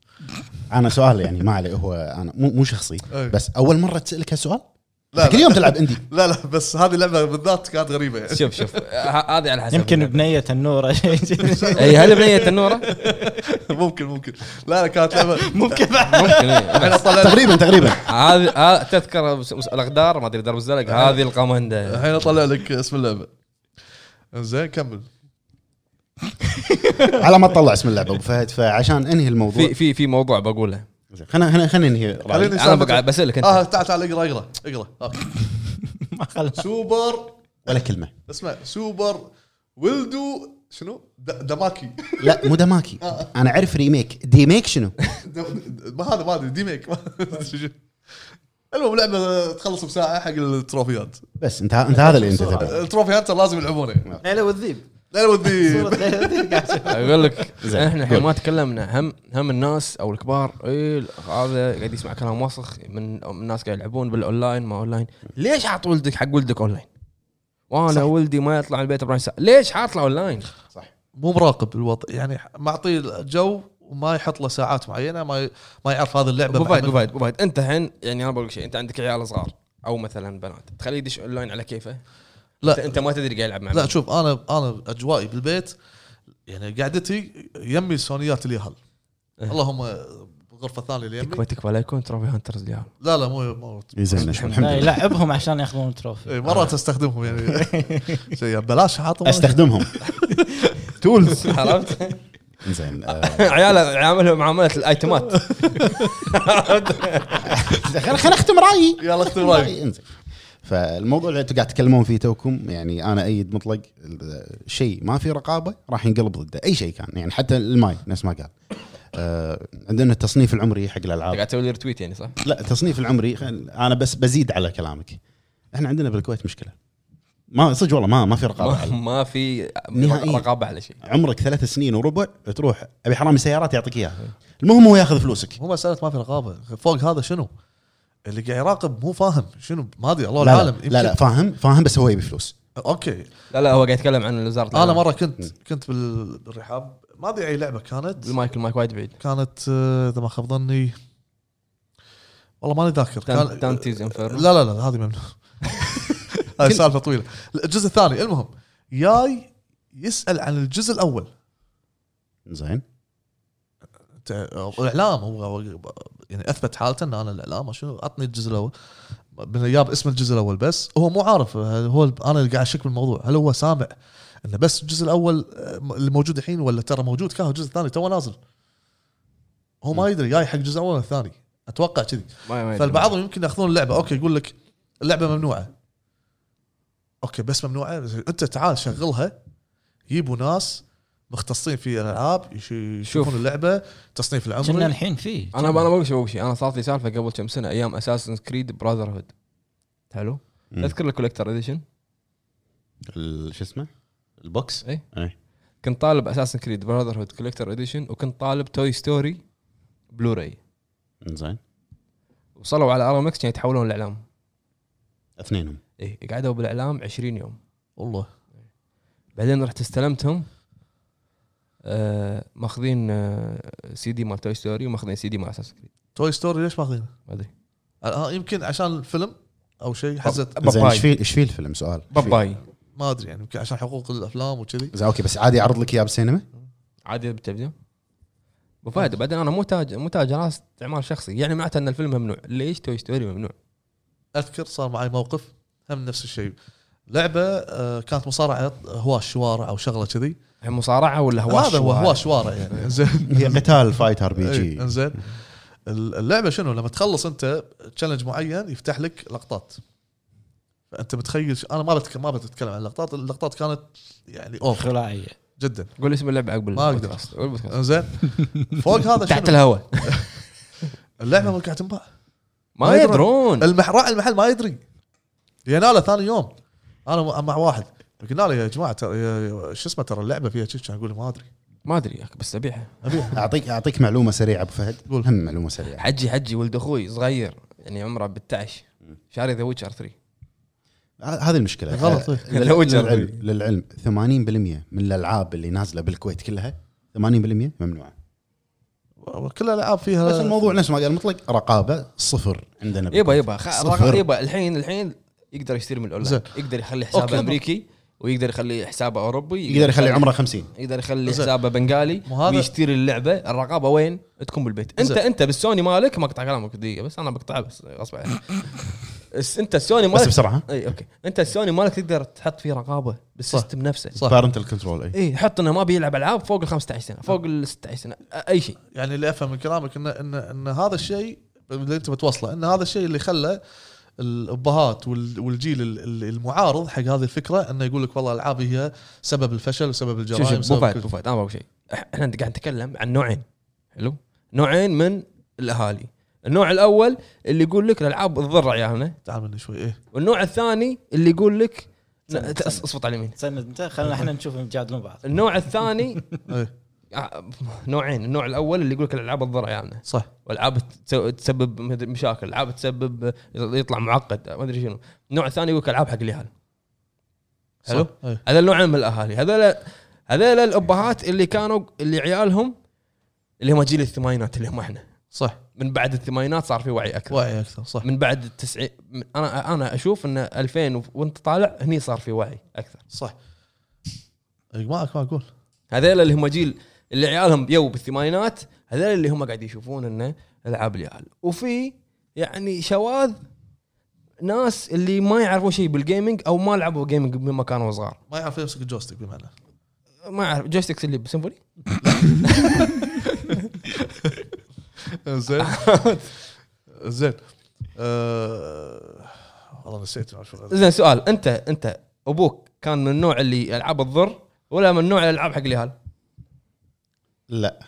Speaker 1: انا سؤال يعني ما عليه هو انا مو مو شخصي
Speaker 4: إيه.
Speaker 1: بس اول مره تسالك هالسؤال
Speaker 4: لا،
Speaker 1: أنت كل
Speaker 4: لا.
Speaker 1: يوم تلعب اندي
Speaker 4: لا لا بس هذه اللعبه بالذات كانت غريبه يعني
Speaker 2: شوف شوف ه- هذه على حسب
Speaker 3: يمكن بنيه النوره شيء
Speaker 2: اي هل بنيه النوره؟
Speaker 4: ممكن ممكن لا لا كانت لعبه
Speaker 3: ممكن بعد
Speaker 2: ممكن إي.
Speaker 4: احنا طلعنا
Speaker 1: تقريبا تقريبا
Speaker 2: هذه هذا- تذكر مس- مس- الاقدار ما ادري درب الزلق
Speaker 4: أه.
Speaker 2: هذه القمنده
Speaker 4: الحين اطلع لك اسم اللعبه زين كمل
Speaker 1: على ما تطلع اسم اللعبه ابو فهد فعشان انهي الموضوع
Speaker 2: في في في موضوع بقوله
Speaker 1: زين، خلينا خلينا خلينا ننهي رأيي.
Speaker 4: خليني
Speaker 2: انا
Speaker 4: سالفة-
Speaker 2: بقعد بسالك
Speaker 4: اه
Speaker 2: انت
Speaker 4: تعال تعال اقرا اقرا اقرا أوكي.
Speaker 3: ما خلى
Speaker 4: آه. سوبر
Speaker 1: ولا كلمه
Speaker 4: اسمع سوبر ولدو شنو د- دماكي
Speaker 1: لا مو دماكي انا اعرف ريميك ديميك شنو
Speaker 4: دم- ما هذا ما ادري ديميك ما- شو- شو. المهم لعبه تخلص بساعه حق التروفيات
Speaker 1: بس انت انت هذا اللي انت تبيه
Speaker 4: التروفيات ترى لازم يلعبونه يعني
Speaker 3: ليلى والذيب
Speaker 4: لا ودي
Speaker 3: صورة ليلى والذيب قاعد أشوف.
Speaker 2: اقول لك
Speaker 1: زين.
Speaker 2: احنا الحين ما تكلمنا هم هم الناس او الكبار اي هذا قاعد يسمع كلام وسخ من من الناس قاعد يلعبون بالاونلاين ما اونلاين ليش حاط ولدك حق ولدك اونلاين؟ وانا صح. ولدي ما يطلع من البيت 24 ساعه ليش حاطله اونلاين؟
Speaker 4: مو مراقب الوضع يعني معطيه الجو وما يحط له ساعات معينه ما ي- ما يعرف هذه اللعبه
Speaker 2: ابو فهد ابو
Speaker 4: بعمل-
Speaker 2: فهد ابو فهد انت الحين يعني انا بقول لك شيء انت عندك عيال صغار او مثلا بنات تخليه يدش اونلاين على كيفه؟
Speaker 4: لا.
Speaker 2: انت, انت ما تدري قاعد يلعب مع
Speaker 4: لا
Speaker 2: مين.
Speaker 4: شوف انا انا اجوائي بالبيت يعني قعدتي يمي سونيات اليهال
Speaker 2: إيه.
Speaker 4: اللهم الغرفه الثانيه اللي
Speaker 1: إيه،
Speaker 4: يمي
Speaker 2: تكفى تكفى لا يكون تروفي هانترز اليوم
Speaker 4: لا لا مو مو
Speaker 1: زين الحمد
Speaker 3: لا،
Speaker 1: لله
Speaker 3: يلعبهم عشان ياخذون التروفي
Speaker 4: إيه، مرات استخدمهم يعني شيء بلاش حاطهم
Speaker 1: استخدمهم
Speaker 2: تولز عرفت؟
Speaker 1: زين آه،
Speaker 2: عياله عاملهم معامله الايتمات
Speaker 1: خل- خل اختم رايي
Speaker 4: يلا اختم
Speaker 1: أختم
Speaker 4: رأيك.
Speaker 1: انزين فالموضوع اللي انتم قاعد تتكلمون فيه توكم يعني انا ايد مطلق ال- شيء ما في رقابه راح ينقلب ضده اي شيء كان يعني حتى الماي نفس ما قال آه عندنا التصنيف العمري حق الالعاب
Speaker 2: قاعد تسوي لي رتويت يعني صح؟
Speaker 1: لا التصنيف العمري خل- انا بس بزيد على كلامك احنا عندنا بالكويت مشكله ما صدق والله ما ما في رقابه
Speaker 2: ما,
Speaker 1: على
Speaker 2: ما في
Speaker 1: نهائياً.
Speaker 2: رقابه على شيء
Speaker 1: عمرك ثلاث سنين وربع تروح ابي حرامي سيارات يعطيك اياها المهم هو ياخذ فلوسك
Speaker 4: مو مساله ما في رقابه فوق هذا شنو؟ اللي قاعد يراقب مو فاهم شنو ما ادري الله
Speaker 1: لا لا,
Speaker 4: العالم يمكن-
Speaker 1: لا لا فاهم فاهم بس هو يبي فلوس
Speaker 4: اوكي
Speaker 2: لا لا هو قاعد يتكلم عن وزاره
Speaker 4: انا
Speaker 2: الإعلام.
Speaker 4: مره كنت كنت بال- بالرحاب ما ادري اي لعبه كانت
Speaker 2: المايك المايك وايد بعيد
Speaker 4: كانت آه، اذا ما خاب ظني والله ماني ذاكر كان
Speaker 2: تانتيز انفيرنو
Speaker 4: لا لا لا هذه ممنوع هذه سالفه طويله الجزء الثاني المهم جاي يسال عن الجزء الاول
Speaker 1: زين
Speaker 4: تع- الاعلام هو هو- يعني اثبت حالته ان انا الاعلام شنو عطني الجزء الاول من جاب اسم الجزء الاول بس هو مو عارف هو انا اللي قاعد اشك بالموضوع هل هو سامع انه بس الجزء الاول آه، اللي موجود الحين ولا ترى موجود كان الجزء الثاني تو نازل هو ما يدري جاي حق الجزء الاول ولا الثاني اتوقع كذي
Speaker 2: ما- ما يدري.
Speaker 4: فالبعض يمكن ياخذون اللعبه اوكي يقول لك اللعبه ممنوعه اوكي بس ممنوعه بس انت تعال شغلها جيبوا ناس مختصين في الالعاب يش- يشوفون اللعبه تصنيف
Speaker 3: كنا
Speaker 4: العمري
Speaker 3: الحين فيه
Speaker 2: انا انا بقول شيء بقول شيء انا صارت لي سالفه قبل كم سنه ايام اساسن كريد براذر هود حلو
Speaker 1: مم.
Speaker 2: تذكر الكوليكتر اديشن
Speaker 1: ال- شو اسمه البوكس
Speaker 2: اي
Speaker 1: اي
Speaker 2: كنت طالب اساسن كريد براذر هود كوليكتر اديشن وكنت طالب توي ستوري بلوراي
Speaker 1: زين
Speaker 2: وصلوا على ارامكس كانوا يتحولون الاعلام
Speaker 1: اثنينهم
Speaker 2: اي قعدوا بالاعلام 20 يوم
Speaker 4: والله
Speaker 2: بعدين رحت استلمتهم آه ماخذين آه سي دي مال توي ستوري وماخذين سي دي مال اساس كريد
Speaker 4: توي ستوري ليش ماخذينه؟
Speaker 2: ما ادري
Speaker 4: آه، يمكن عشان الفيلم او شيء
Speaker 1: زين
Speaker 4: حزت
Speaker 1: ايش
Speaker 2: باباي
Speaker 1: في ايش في الفيلم سؤال؟ إيش في؟
Speaker 2: باباي
Speaker 4: ما ادري يعني يمكن عشان حقوق الافلام وكذي
Speaker 1: زين اوكي بس عادي يعرض لك اياه بالسينما؟
Speaker 2: عادي بالتلفزيون ابو فهد بعدين انا مو تاج مو تاج انا استعمال شخصي يعني معناته ان الفيلم ممنوع ليش توي ستوري ممنوع
Speaker 4: اذكر صار معي موقف هم نفس الشيء لعبه آه، كانت مصارعه هواش شوارع او شغله كذي
Speaker 2: الحين مصارعه ولا هواش
Speaker 4: هذا هو
Speaker 2: شوارع؟
Speaker 4: هواش شوارع يعني زين
Speaker 1: هي قتال فايت ار بي
Speaker 4: اي
Speaker 1: جي
Speaker 4: انزين اللعبه شنو لما تخلص انت تشالنج معين يفتح لك لقطات فانت متخيل ش- انا ما بتك... ما بتكلم عن اللقطات اللقطات كانت يعني اوف
Speaker 3: خلاعيه
Speaker 4: جدا
Speaker 2: قول اسم اللعبه عقب
Speaker 4: ما أقدر.
Speaker 2: البودكاست. قول البودكاست.
Speaker 4: انزين فوق هذا
Speaker 2: تحت
Speaker 4: شنو
Speaker 2: الهواء
Speaker 4: اللعبه ما قاعد تنباع
Speaker 2: ما
Speaker 4: ما يدرون.
Speaker 2: يدرون
Speaker 4: المح... راعي المحل ما يدري يناله ثاني يوم انا م- مع واحد قلنا له يا جماعه ترى يا- شو اسمه ترى اللعبه فيها كذي اقول له ما ادري
Speaker 2: ما ادري يا أخي، بس ابيعها
Speaker 1: اعطيك اعطيك معلومه سريعه ابو فهد
Speaker 4: قول.
Speaker 1: هم معلومه سريعه
Speaker 2: حجي حجي ولد اخوي صغير يعني عمره ب 11 شاري ذا ويتشر 3
Speaker 1: ه- هذه المشكله
Speaker 4: غلط.
Speaker 1: آه،
Speaker 2: لا
Speaker 1: للعلم
Speaker 2: وجه
Speaker 1: للعلم- للعلم 80% من الالعاب اللي نازله بالكويت كلها 80% ممنوعه
Speaker 4: كل الالعاب فيها
Speaker 1: بس الموضوع نفس ما قال مطلق رقابه صفر عندنا
Speaker 2: يبا يبا خ-
Speaker 1: صفر.
Speaker 2: يبا الحين الحين يقدر يشتري من الاونلاين
Speaker 4: زين.
Speaker 2: يقدر يخلي حسابه
Speaker 4: أوكي.
Speaker 2: امريكي ويقدر يخلي حسابه اوروبي
Speaker 1: يقدر يخلي عمره 50
Speaker 2: يقدر يخلي
Speaker 4: زين.
Speaker 2: حسابه بنغالي
Speaker 4: مو هذا-
Speaker 2: ويشتري اللعبه الرقابه وين؟ تكون بالبيت انت
Speaker 4: زين.
Speaker 2: انت بالسوني مالك ما اقطع كلامك دقيقه بس انا بقطع بس غصب عنك بس انت السوني
Speaker 1: بس
Speaker 2: مالك
Speaker 1: بسرعه
Speaker 2: اي اوكي انت السوني مالك تقدر تحط فيه رقابه بالسيستم نفسه
Speaker 4: صح.
Speaker 1: بارنتال كنترول اي
Speaker 2: اي حط انه ما بيلعب العاب فوق ال 15 سنه فوق ال 16 سنه أ- اي شيء
Speaker 4: يعني اللي افهم من كلامك ان ان ان هذا الشيء اللي انت بتوصله ان هذا الشيء اللي خلى الابهات وال- والجيل ال- ال- المعارض حق هذه الفكره انه يقول لك والله الالعاب هي سبب الفشل وسبب
Speaker 2: شوف
Speaker 4: الجرائم
Speaker 2: شوف مو
Speaker 4: وسبب
Speaker 2: فايد
Speaker 4: كل-
Speaker 2: مو فايد انا بقول شيء إح- احنا قاعد نتكلم عن نوعين حلو نوعين من الاهالي النوع الاول اللي يقول لك الالعاب تضر عيالنا
Speaker 4: تعال مني شوي ايه
Speaker 2: والنوع الثاني اللي يقول لك
Speaker 3: سمع-
Speaker 2: ت- أص- اصبط على اليمين
Speaker 3: تسند انت خلينا احنا نشوف نجادلون بعض
Speaker 2: النوع الثاني
Speaker 4: ايه
Speaker 2: آه، نوعين النوع الاول اللي يقول لك الالعاب تضر عيالنا
Speaker 4: صح
Speaker 2: والعاب تسو- يعني. تسبب مدري مشاكل العاب تسبب يطلع معقد ما ادري شنو النوع الثاني يقول لك العاب حق اليهال
Speaker 4: صح.
Speaker 2: حلو
Speaker 4: ايه
Speaker 2: هذا نوع من الاهالي هذول هذول الابهات اللي كانوا اللي عيالهم اللي هم جيل الثمانينات اللي هم احنا
Speaker 4: صح
Speaker 2: من بعد الثمانينات صار في وعي اكثر
Speaker 4: وعي اكثر صح
Speaker 2: من بعد التسعين من- انا انا اشوف ان 2000 و- وانت طالع هني صار في وعي اكثر
Speaker 4: صح إيه، معك ما اقول
Speaker 2: هذول اللي هم جيل اللي عيالهم يو بالثمانينات هذول اللي هم قاعد يشوفون انه العاب اليهال وفي يعني شواذ ناس اللي ما يعرفون شيء بالجيمنج او ما لعبوا جيمنج مما كانوا صغار
Speaker 4: ما يعرف يمسك الجوستيك بمعنى
Speaker 2: ما اعرف جويستيكس اللي بسيمفوني
Speaker 4: زين زين آه، والله نسيت شو غير.
Speaker 2: زين سؤال انت انت ابوك كان من النوع اللي العاب الضر ولا من نوع الالعاب حق اليهال؟
Speaker 1: لا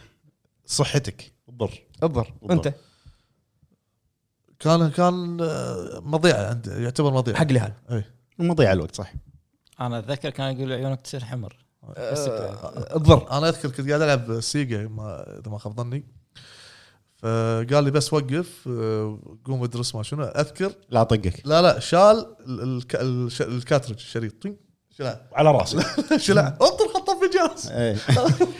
Speaker 1: صحتك تضر
Speaker 2: الضر
Speaker 1: الضر.
Speaker 2: انت
Speaker 4: كان كان آه، مضيعه عندي يعتبر مضيعه
Speaker 2: حق اليهال
Speaker 1: مضيع الوقت صح
Speaker 3: انا اتذكر كان يقول عيونك تصير حمر
Speaker 2: آه، الضر
Speaker 4: انا اذكر كنت قاعد العب سيجا ما اذا ما خاب ظني فقال لي بس وقف آه، قوم ادرس ما شنو اذكر
Speaker 1: لا طقك
Speaker 4: لا لا شال ال- الك- الش- الكاترج الشريط طين، شلع
Speaker 1: على راسك
Speaker 4: شلع انطر حطه في الجهاز
Speaker 1: إيه.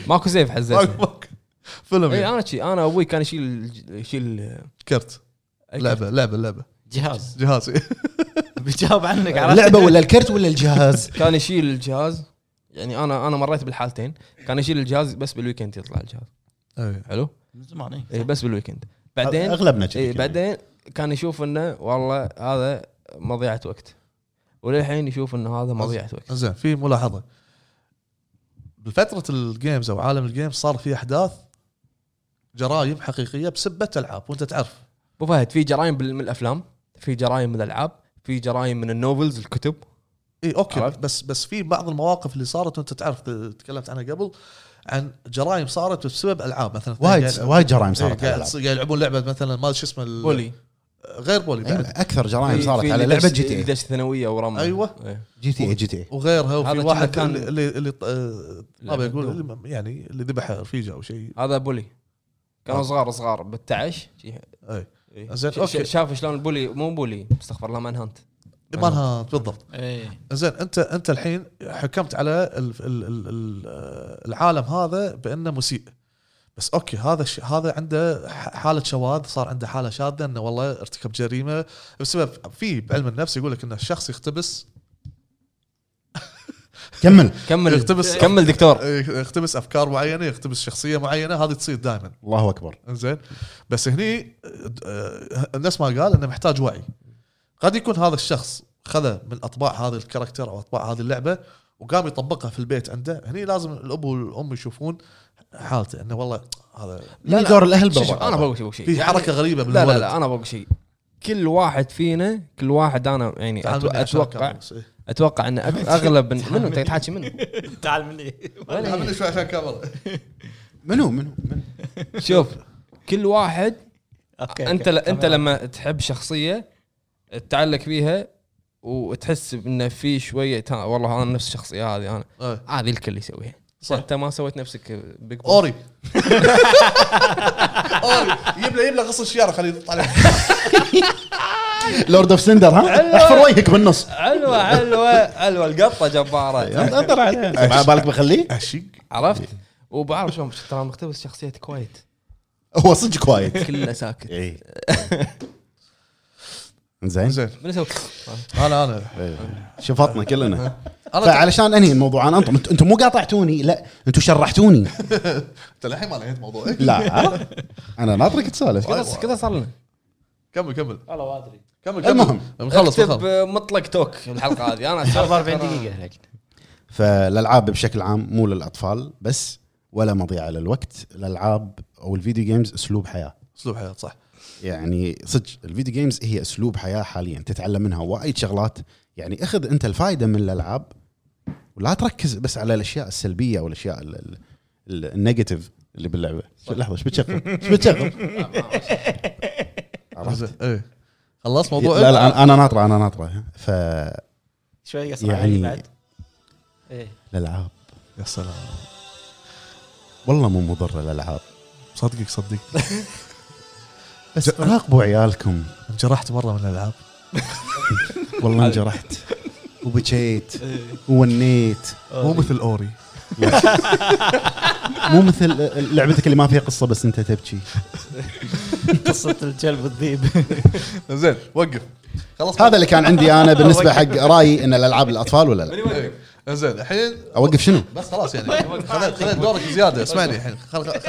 Speaker 2: ماكو سيف
Speaker 4: ماكو-
Speaker 2: حزتني
Speaker 4: ماكو. فيلم
Speaker 2: اي
Speaker 4: يعني.
Speaker 2: انا شي انا ابوي كان يشيل يشيل
Speaker 4: كرت لعبه لعبه لعبه
Speaker 3: جهاز
Speaker 4: جهازي
Speaker 3: بيجاوب عنك عرفت؟
Speaker 1: اللعبه ولا الكرت ولا الجهاز
Speaker 2: كان يشيل الجهاز يعني انا انا مريت بالحالتين كان يشيل الجهاز بس بالويكند يطلع الجهاز
Speaker 4: إيه.
Speaker 2: حلو
Speaker 3: من زمان إيه.
Speaker 2: اي بس بالويكند بعدين
Speaker 1: اغلبنا كذي
Speaker 2: اي
Speaker 1: كان.
Speaker 2: بعدين كان يشوف انه والله هذا مضيعه وقت وللحين يشوف انه هذا مضيعه وقت
Speaker 4: زين في ملاحظه بفتره الجيمز او عالم الجيمز صار في احداث جرائم حقيقيه بسبه العاب وانت تعرف
Speaker 2: ابو فهد في جرائم بال- من الافلام في جرائم من الالعاب في جرائم من النوفلز الكتب
Speaker 4: اي اوكي
Speaker 2: عرفت؟
Speaker 4: عرفت. إيه، بس بس في بعض المواقف اللي صارت وانت تعرف ت- تكلمت عنها قبل عن جرائم صارت بسبب العاب مثلا
Speaker 1: وايد
Speaker 4: قاعد-
Speaker 1: وايد جرائم
Speaker 4: إيه،
Speaker 1: صارت على
Speaker 4: قاعد
Speaker 1: الألعاب.
Speaker 4: قاعد يلعبون لعبه مثلا ما شو اسمه ال-
Speaker 2: بولي
Speaker 4: غير بولي
Speaker 1: أيوة،
Speaker 4: بعد
Speaker 1: اكثر جرائم صارت على لعبه جي تي اي
Speaker 2: دش ثانويه ورمى
Speaker 4: أيوة.
Speaker 2: إيه.
Speaker 1: جي تي اي جي تي اي
Speaker 4: وغيرها وفي
Speaker 2: هذا
Speaker 4: واحد
Speaker 2: كان-
Speaker 4: كان اللي اللي آه، ما
Speaker 2: لعبة
Speaker 4: بقول
Speaker 2: دوم.
Speaker 4: اللي- يعني اللي ذبح رفيجه او شيء
Speaker 2: هذا بولي كانوا
Speaker 1: أه.
Speaker 4: آه.
Speaker 2: صغار صغار بالتعش شي-
Speaker 1: أيوه.
Speaker 4: اي
Speaker 2: إيه.
Speaker 4: آه، زين،
Speaker 2: ش-
Speaker 4: أوكي.
Speaker 2: شاف شلون البولي مو بولي استغفر الله مانهانت
Speaker 4: مالها بالضبط
Speaker 3: ايه
Speaker 4: زين انت انت الحين حكمت على ال ال ال ال العالم هذا بانه مسيء بس اوكي هذا الش... هذا عنده ح- حاله شواذ صار عنده حاله شاذه انه والله ارتكب جريمه بسبب في بعلم النفس يقول لك ان الشخص يختبس
Speaker 1: كمل
Speaker 2: كمل
Speaker 4: يقتبس-
Speaker 2: كمل دكتور
Speaker 4: إيه، يختبس افكار معينه يختبس شخصيه معينه هذه تصير دائما
Speaker 1: الله اكبر
Speaker 4: زين بس هني آه، الناس ما قال انه محتاج وعي قد يكون هذا الشخص خذ من اطباع هذا الكاركتر او اطباع هذه اللعبه وقام يطبقها في البيت عنده هني لازم الاب والام يشوفون حالته انه والله هذا
Speaker 1: من دور الاهل
Speaker 2: شوف- شوف،
Speaker 1: بالضبط
Speaker 2: انا بقول شيء بقول شيء
Speaker 4: في
Speaker 2: يعني-
Speaker 4: حركه غريبه
Speaker 2: لا
Speaker 4: بالولد
Speaker 2: لا لا انا بقول شيء كل واحد فينا كل واحد انا يعني
Speaker 4: تعال
Speaker 2: أتو-
Speaker 4: مني عشان
Speaker 2: اتوقع
Speaker 4: كاميرا. إيه.
Speaker 2: اتوقع ان أك- اغلب من- منو انت تحاكي منو
Speaker 3: تعال مني
Speaker 4: تعال مني شوي عشان كاميرا
Speaker 1: منو منو منو؟
Speaker 2: شوف كل واحد
Speaker 3: اوكي
Speaker 2: انت ل... انت لما تحب شخصيه تتعلق فيها وتحس انه في شويه ها والله انا نفس الشخصيه هذه انا
Speaker 4: إيه.
Speaker 2: هذه الكل يسويها صح انت ما سويت نفسك بيج بوس.
Speaker 4: اوري اوري يجيب له يجيب له غصن شياره خليه يطلع له.
Speaker 1: لورد اوف سندر ها احفر وجهك بالنص
Speaker 2: حلوه حلوه حلوه القطه جباره
Speaker 1: انظر عليه على بالك بخليه
Speaker 4: اشق
Speaker 2: إيه. عرفت وبعرف شلون ترى مقتبس شخصيه كويت
Speaker 1: هو صدق وايد
Speaker 2: كله ساكت
Speaker 1: اي زين
Speaker 4: زين
Speaker 2: من اسوي طيب،
Speaker 4: انا انا
Speaker 1: شفطنا كلنا
Speaker 4: انا
Speaker 1: فعلشان انهي الموضوع انا انتم انتم مو قاطعتوني لا انتم شرحتوني
Speaker 4: انت للحين ما نهيت إيه. موضوعك
Speaker 1: لا عرفت؟ انا ناطرك تسولف
Speaker 2: كذا كذا صار لنا
Speaker 4: كمل كمل
Speaker 3: والله ما ادري
Speaker 4: كمل كمل
Speaker 1: المهم
Speaker 4: نخلص
Speaker 2: اكتب
Speaker 4: نخلص
Speaker 2: مطلق توك الحلقه هذه انا
Speaker 3: صار
Speaker 2: أسولف
Speaker 3: 40
Speaker 2: ترى.
Speaker 3: دقيقه لكن
Speaker 1: فالالعاب بشكل عام مو للاطفال بس ولا مضيعه للوقت الالعاب او الفيديو جيمز اسلوب حياه
Speaker 4: اسلوب حياه صح
Speaker 1: يعني صدق الفيديو جيمز هي اسلوب حياه حاليا تتعلم منها وايد شغلات يعني اخذ انت الفائده من الالعاب ولا تركز بس على الاشياء السلبيه والاشياء ال- ال- ال- النيجاتيف اللي باللعبه شو- لحظه ايش بتشغل؟ ايش بتشغل؟
Speaker 4: آه،
Speaker 1: عرفت؟
Speaker 4: زين ايه خلصت موضوع
Speaker 1: لا لا أنا- انا ناطره انا ناطره فالالعاب
Speaker 3: شوي اسرع
Speaker 1: يعني-
Speaker 3: يعني بعد ايه
Speaker 4: إيه؟ يا سلام
Speaker 1: والله مو مضره الالعاب
Speaker 4: صدقك صدقك
Speaker 1: بس راقبوا عيالكم
Speaker 4: انجرحت مره من الالعاب
Speaker 1: والله انجرحت وبكيت وونيت
Speaker 4: مو مثل اوري
Speaker 1: مو مثل لعبتك اللي ما فيها قصه بس انت تبكي
Speaker 3: قصه الكلب والذيب
Speaker 4: زين وقف خلص
Speaker 1: هذا اللي كان عندي انا بالنسبه حق رايي ان الالعاب الاطفال ولا لا
Speaker 4: إيه. زين الحين
Speaker 1: اوقف شنو
Speaker 4: بس خلاص يعني خليت خليت دورك زياده اسمعني الحين خل خل خل-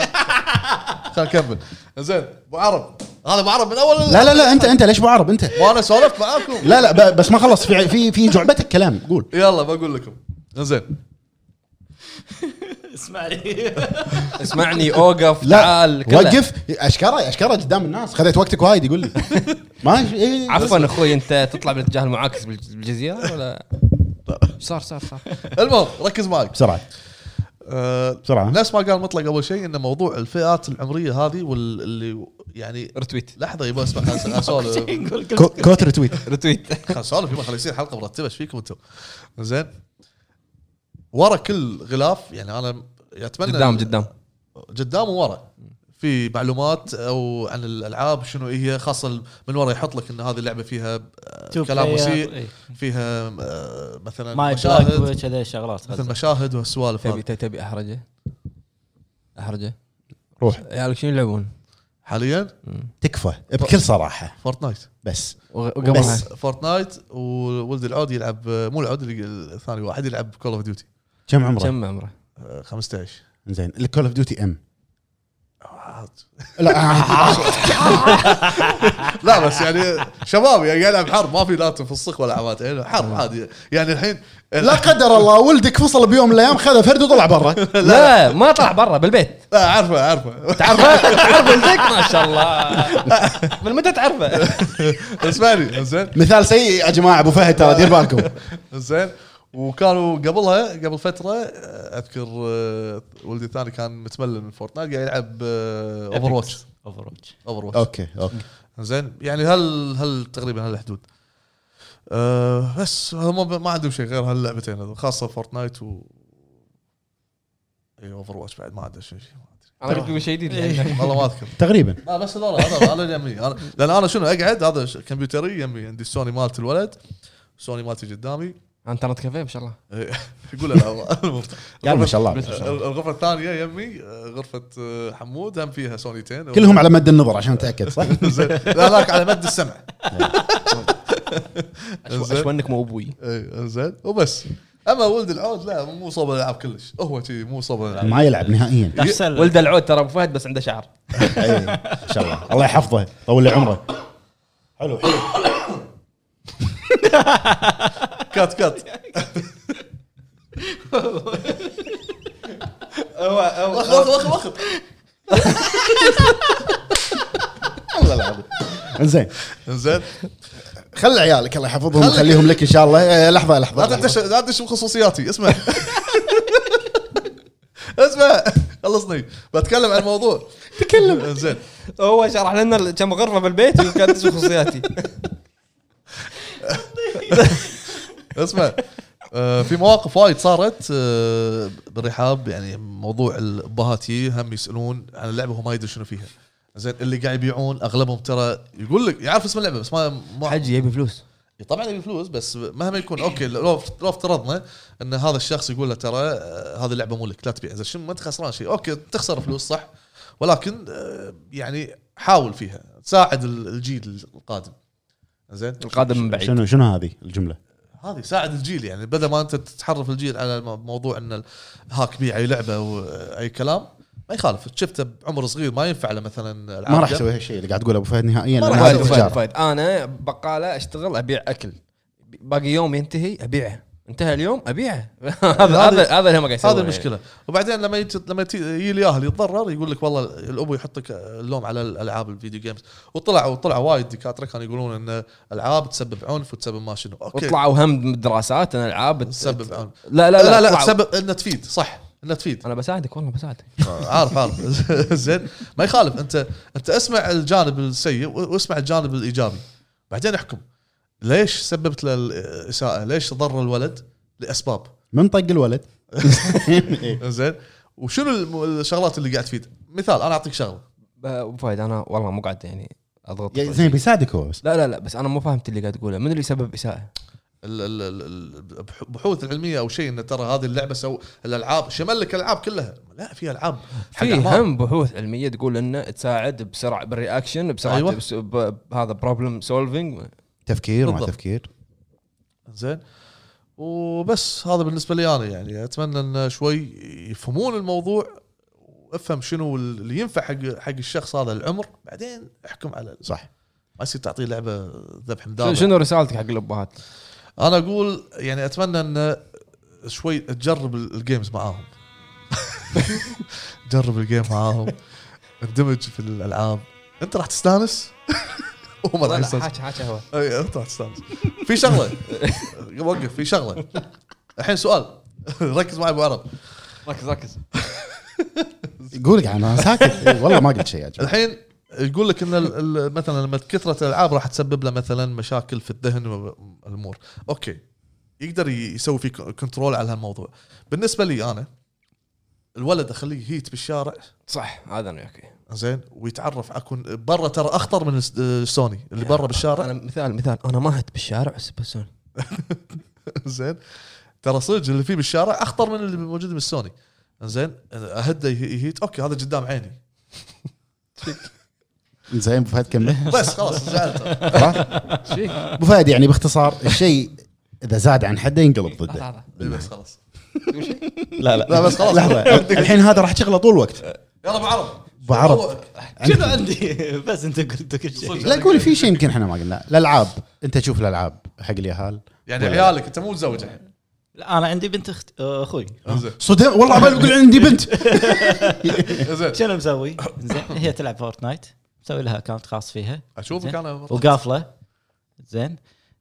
Speaker 4: خل نكمل زين ابو عرب هذا ابو عرب من اول
Speaker 1: لا لا لا انت انت ليش ابو عرب انت
Speaker 4: وانا سولفت معاكم
Speaker 1: لا لا ب- بس ما خلص في في في جعبتك كلام قول
Speaker 4: يلا بقول لكم زين
Speaker 3: اسمعني
Speaker 2: اسمعني اوقف
Speaker 1: لا
Speaker 2: تعال كله.
Speaker 1: وقف اشكره اشكره قدام الناس خذيت وقتك وايد يقول لي ماشي إيه.
Speaker 2: عفوا اخوي انت تطلع بالاتجاه المعاكس بالج- بالجزيره ولا صار صار صار
Speaker 4: المهم ركز معك
Speaker 1: بسرعه
Speaker 4: آه،
Speaker 1: بسرعه
Speaker 4: نفس ما قال مطلق اول شيء ان موضوع الفئات العمريه هذه واللي يعني
Speaker 2: رتويت
Speaker 4: لحظه يبا اسمع خل اسولف
Speaker 1: كو- كوت ريتويت
Speaker 2: رتويت
Speaker 4: خل اسولف يبا خل يصير حلقه مرتبه ايش فيكم انتم؟ زين ورا كل غلاف يعني انا اتمنى
Speaker 2: قدام قدام
Speaker 4: قدام وورا في معلومات او عن الالعاب شنو هي خاصه من ورا يحط لك ان هذه اللعبه فيها آه، كلام وسيء
Speaker 3: إيه.
Speaker 4: فيها آه، مثلا
Speaker 3: ما
Speaker 4: مشاهد
Speaker 3: يشاهد كذا الشغلات
Speaker 4: مثل مشاهد وهالسوالف
Speaker 2: تبي
Speaker 4: هذه.
Speaker 2: تبي احرجه احرجه
Speaker 1: روح
Speaker 2: عيالك شنو يلعبون؟
Speaker 4: حاليا
Speaker 1: تكفى بكل صراحه
Speaker 4: فورتنايت
Speaker 1: بس
Speaker 2: وغ- وقبلها
Speaker 1: بس.
Speaker 4: فورتنايت وولد العود يلعب مو العود اللي- الثاني واحد يلعب كول اوف ديوتي
Speaker 1: كم عمرك
Speaker 2: كم عمره؟
Speaker 4: آه، 15
Speaker 1: زين الكول اوف ديوتي ام
Speaker 4: عاد.
Speaker 1: لا آه،
Speaker 4: لا بس يعني شباب يعني يلعب حر ما في لا تنفسخ ولا عمات يعني حر عادي يعني الحين
Speaker 1: لا قدر الله ولدك فصل بيوم من الايام خذ فرد وطلع برا
Speaker 2: لا ما طلع برا بالبيت
Speaker 4: لا، آه، عارفه عارفه
Speaker 2: تعرفه تعرف ولدك ما شاء الله من متى تعرفه؟
Speaker 4: اسمعني زين
Speaker 1: مثال سيء يا جماعه ابو فهد ترى دير بالكم
Speaker 4: زين وكانوا قبلها قبل فتره آه، اذكر آه، ولدي الثاني كان متملل من فورتنايت قاعد يلعب آه، اوفر واتش
Speaker 3: اوفر واتش
Speaker 4: اوفر واتش
Speaker 1: اوكي اوكي
Speaker 4: زين يعني هل هل تقريبا هالحدود أه بس هم ما عندهم شيء غير هاللعبتين هذول خاصه فورتنايت و اي اوفر واتش بعد ما عندهم شيء شيء ما أدري.
Speaker 2: انا قلت شيء جديد الحين.
Speaker 4: والله ما اذكر
Speaker 1: تقريبا
Speaker 4: لا بس هذول هذا انا يمي أنا لان انا شنو اقعد هذا ش- كمبيوتري يمي عندي سوني مالت الولد سوني مالتي قدامي
Speaker 2: انترنت كافيه ما شاء الله
Speaker 4: إيه، يقول لا المهم.
Speaker 1: قال ما شاء الله
Speaker 4: الغرفه الثانيه يمي آه، غرفه آه، حمود هم فيها سونيتين
Speaker 1: كلهم على مد النظر عشان اتاكد صح؟
Speaker 4: زين. لا ذاك على مد السمع
Speaker 2: أشو-
Speaker 4: زين.
Speaker 2: اشونك مو ابوي
Speaker 4: اي زين وبس اما ولد العود لا مو صوب الالعاب كلش هو شي مو صوب الالعاب
Speaker 1: ما يلعب نهائيا
Speaker 3: تحسن
Speaker 2: ولد العود ترى ابو فهد بس عنده شعر
Speaker 1: إيه، ان شاء الله الله يحفظه طول له عمره حلو حلو
Speaker 4: كات كات وخ وخ وخ وخ
Speaker 1: والله العظيم زين
Speaker 4: زين
Speaker 1: خلي عيالك الله يحفظهم وخليهم لك ان شاء الله إيه، لحظه
Speaker 4: لا
Speaker 1: لحظه
Speaker 4: تدش لا تدش بخصوصياتي اسمع اسمع خلصني بتكلم عن الموضوع تكلم زين
Speaker 2: هو شرح لنا كم غرفه بالبيت وكانت خصوصياتي
Speaker 4: اسمع آه، في مواقف وايد صارت آه، بالرحاب يعني موضوع البهاتي هم يسالون عن اللعبه وما يدري شنو فيها زين اللي قاعد يبيعون اغلبهم ترى يقول لك يعرف اسم اللعبه بس ما ما
Speaker 2: حجي يبي فلوس
Speaker 4: طبعا يبي فلوس بس مهما يكون اوكي لو لو افترضنا ان هذا الشخص يقول له ترى آه، هذه اللعبه مو لك لا تبيع زين شنو ما انت خسران شيء اوكي تخسر فلوس صح ولكن آه، يعني حاول فيها تساعد ال- الجيل القادم زين
Speaker 2: القادم من بعيد
Speaker 1: شنو شنو هذه الجمله؟
Speaker 4: هذه ساعد الجيل يعني بدل ما انت تحرف الجيل على الم- موضوع ان الهاك بيع اي لعبه واي كلام ما يخالف شفته بعمر صغير ما ينفع له مثلا العاب
Speaker 1: ما راح
Speaker 4: جم.
Speaker 1: اسوي هالشيء اللي قاعد تقوله ابو فهد نهائيا
Speaker 4: ما
Speaker 1: لأن
Speaker 4: راح
Speaker 1: هذا
Speaker 2: فايد
Speaker 4: أسوي.
Speaker 2: فايد
Speaker 1: تجارب.
Speaker 2: فايد انا بقاله اشتغل ابيع اكل باقي يوم ينتهي ابيعه انتهى اليوم ابيعه هذا هذا هذا اللي هم قاعد يسوونه
Speaker 4: هذا المشكله وبعدين لما يجي لما يجي يجي الياهل يتضرر يقول لك والله الابو يحطك اللوم على الالعاب الفيديو جيمز وطلع وطلع وايد دكاتره كانوا يقولون ان العاب تسبب عنف وتسبب ما شنو
Speaker 2: يعني.
Speaker 4: اوكي
Speaker 2: وطلعوا هم من الدراسات ان العاب بت-
Speaker 4: تسبب عنف
Speaker 2: لا لا
Speaker 4: لا لا,
Speaker 2: طلعوا.
Speaker 4: لا تسبب انها تفيد صح انها تفيد
Speaker 2: انا بساعدك والله بساعدك
Speaker 4: عارف عارف زين ما يخالف انت انت اسمع الجانب السيء و- واسمع الجانب الايجابي بعدين احكم ليش سببت له الاساءه؟ ليش ضر الولد؟ لاسباب
Speaker 1: من طق الولد إيه.
Speaker 4: زين وشنو الم- الشغلات اللي قاعد تفيد؟ مثال انا اعطيك شغله
Speaker 2: ب- ابو فهد انا والله مو قاعد يعني اضغط
Speaker 1: يعني زين بيساعدك هو بس
Speaker 2: لا لا لا بس انا مو فهمت اللي قاعد تقوله من اللي سبب اساءه
Speaker 4: ال- ال- ال- ال- البحوث العلميه او شيء ان ترى هذه اللعبه سو الالعاب شمل لك الالعاب كلها لا في العاب حق
Speaker 2: في
Speaker 4: أعمار.
Speaker 2: هم بحوث علميه تقول انه تساعد بسرعه بالرياكشن بسرعه
Speaker 4: أيوة.
Speaker 2: أيوة. بس ب- بهذا بروبلم سولفنج
Speaker 1: تفكير ما
Speaker 4: بالضبط.
Speaker 1: تفكير
Speaker 4: زين وبس هذا بالنسبه لي انا يعني اتمنى ان شوي يفهمون الموضوع وافهم شنو اللي ينفع حق حق الشخص هذا العمر بعدين احكم على
Speaker 1: صح
Speaker 4: ما يصير تعطيه لعبه ذبح مدابح
Speaker 2: شنو رسالتك حق الابهات؟
Speaker 4: انا اقول يعني اتمنى ان شوي تجرب ال- الجيمز معاهم جرب الجيم معاهم اندمج في الالعاب انت راح تستانس وهم راح يستانسون
Speaker 2: حاجه حاجه هو
Speaker 4: اي انت راح تستانس إيه، في شغله وقف في شغله الحين سؤال ركز معي ابو عرب
Speaker 2: ركز ركز
Speaker 1: قول قاعد انا ساكت إيه، والله ما قلت شيء يا جماعه
Speaker 4: الحين يقول لك ان ال- ال- مثلا لما كثره الالعاب راح تسبب له مثلا مشاكل في الذهن والامور اوكي يقدر ي- يسوي في ك- كنترول على هالموضوع بالنسبه لي انا الولد اخليه يهيت بالشارع
Speaker 2: صح هذا انا وياك
Speaker 4: زين ويتعرف اكون برا ترى اخطر من الس- السوني اللي برا بالشارع
Speaker 2: انا مثال مثال انا ما هت بالشارع بس بس أنا-
Speaker 4: زين ترى صدق اللي فيه بالشارع اخطر من اللي موجود بالسوني زين اهده يه- يهيت اوكي هذا قدام عيني
Speaker 1: زين ابو فهد كمل
Speaker 4: بس خلاص زعلت
Speaker 1: خلاص؟
Speaker 2: ايش فيك؟
Speaker 1: ابو فهد يعني باختصار الشيء اذا زاد عن حده ينقلب ضده
Speaker 2: لحظة،
Speaker 4: بس خلاص
Speaker 1: لا لا
Speaker 4: لا، بس خلاص.
Speaker 1: لحظه الحين هذا راح تشغله طول الوقت
Speaker 4: يلا ابو عرب
Speaker 1: أبو عرب.
Speaker 4: موضوعك.
Speaker 3: شنو عندي بس انت قلت كل شيء
Speaker 4: صدق.
Speaker 1: لا قولي في شيء يمكن احنا ما قلنا الالعاب انت تشوف الالعاب حق اليهال
Speaker 4: يعني
Speaker 1: ولا-
Speaker 4: عيالك انت مو متزوج الحين
Speaker 3: لا انا عندي بنت اخت آه، اخوي
Speaker 4: زين
Speaker 1: صدق والله عبالي بقول عندي بنت
Speaker 4: زين
Speaker 3: شنو مسوي؟ زين هي تلعب فورتنايت مسوي لها اكونت خاص فيها
Speaker 4: اشوفك
Speaker 3: زين.
Speaker 4: انا
Speaker 3: وقافله زين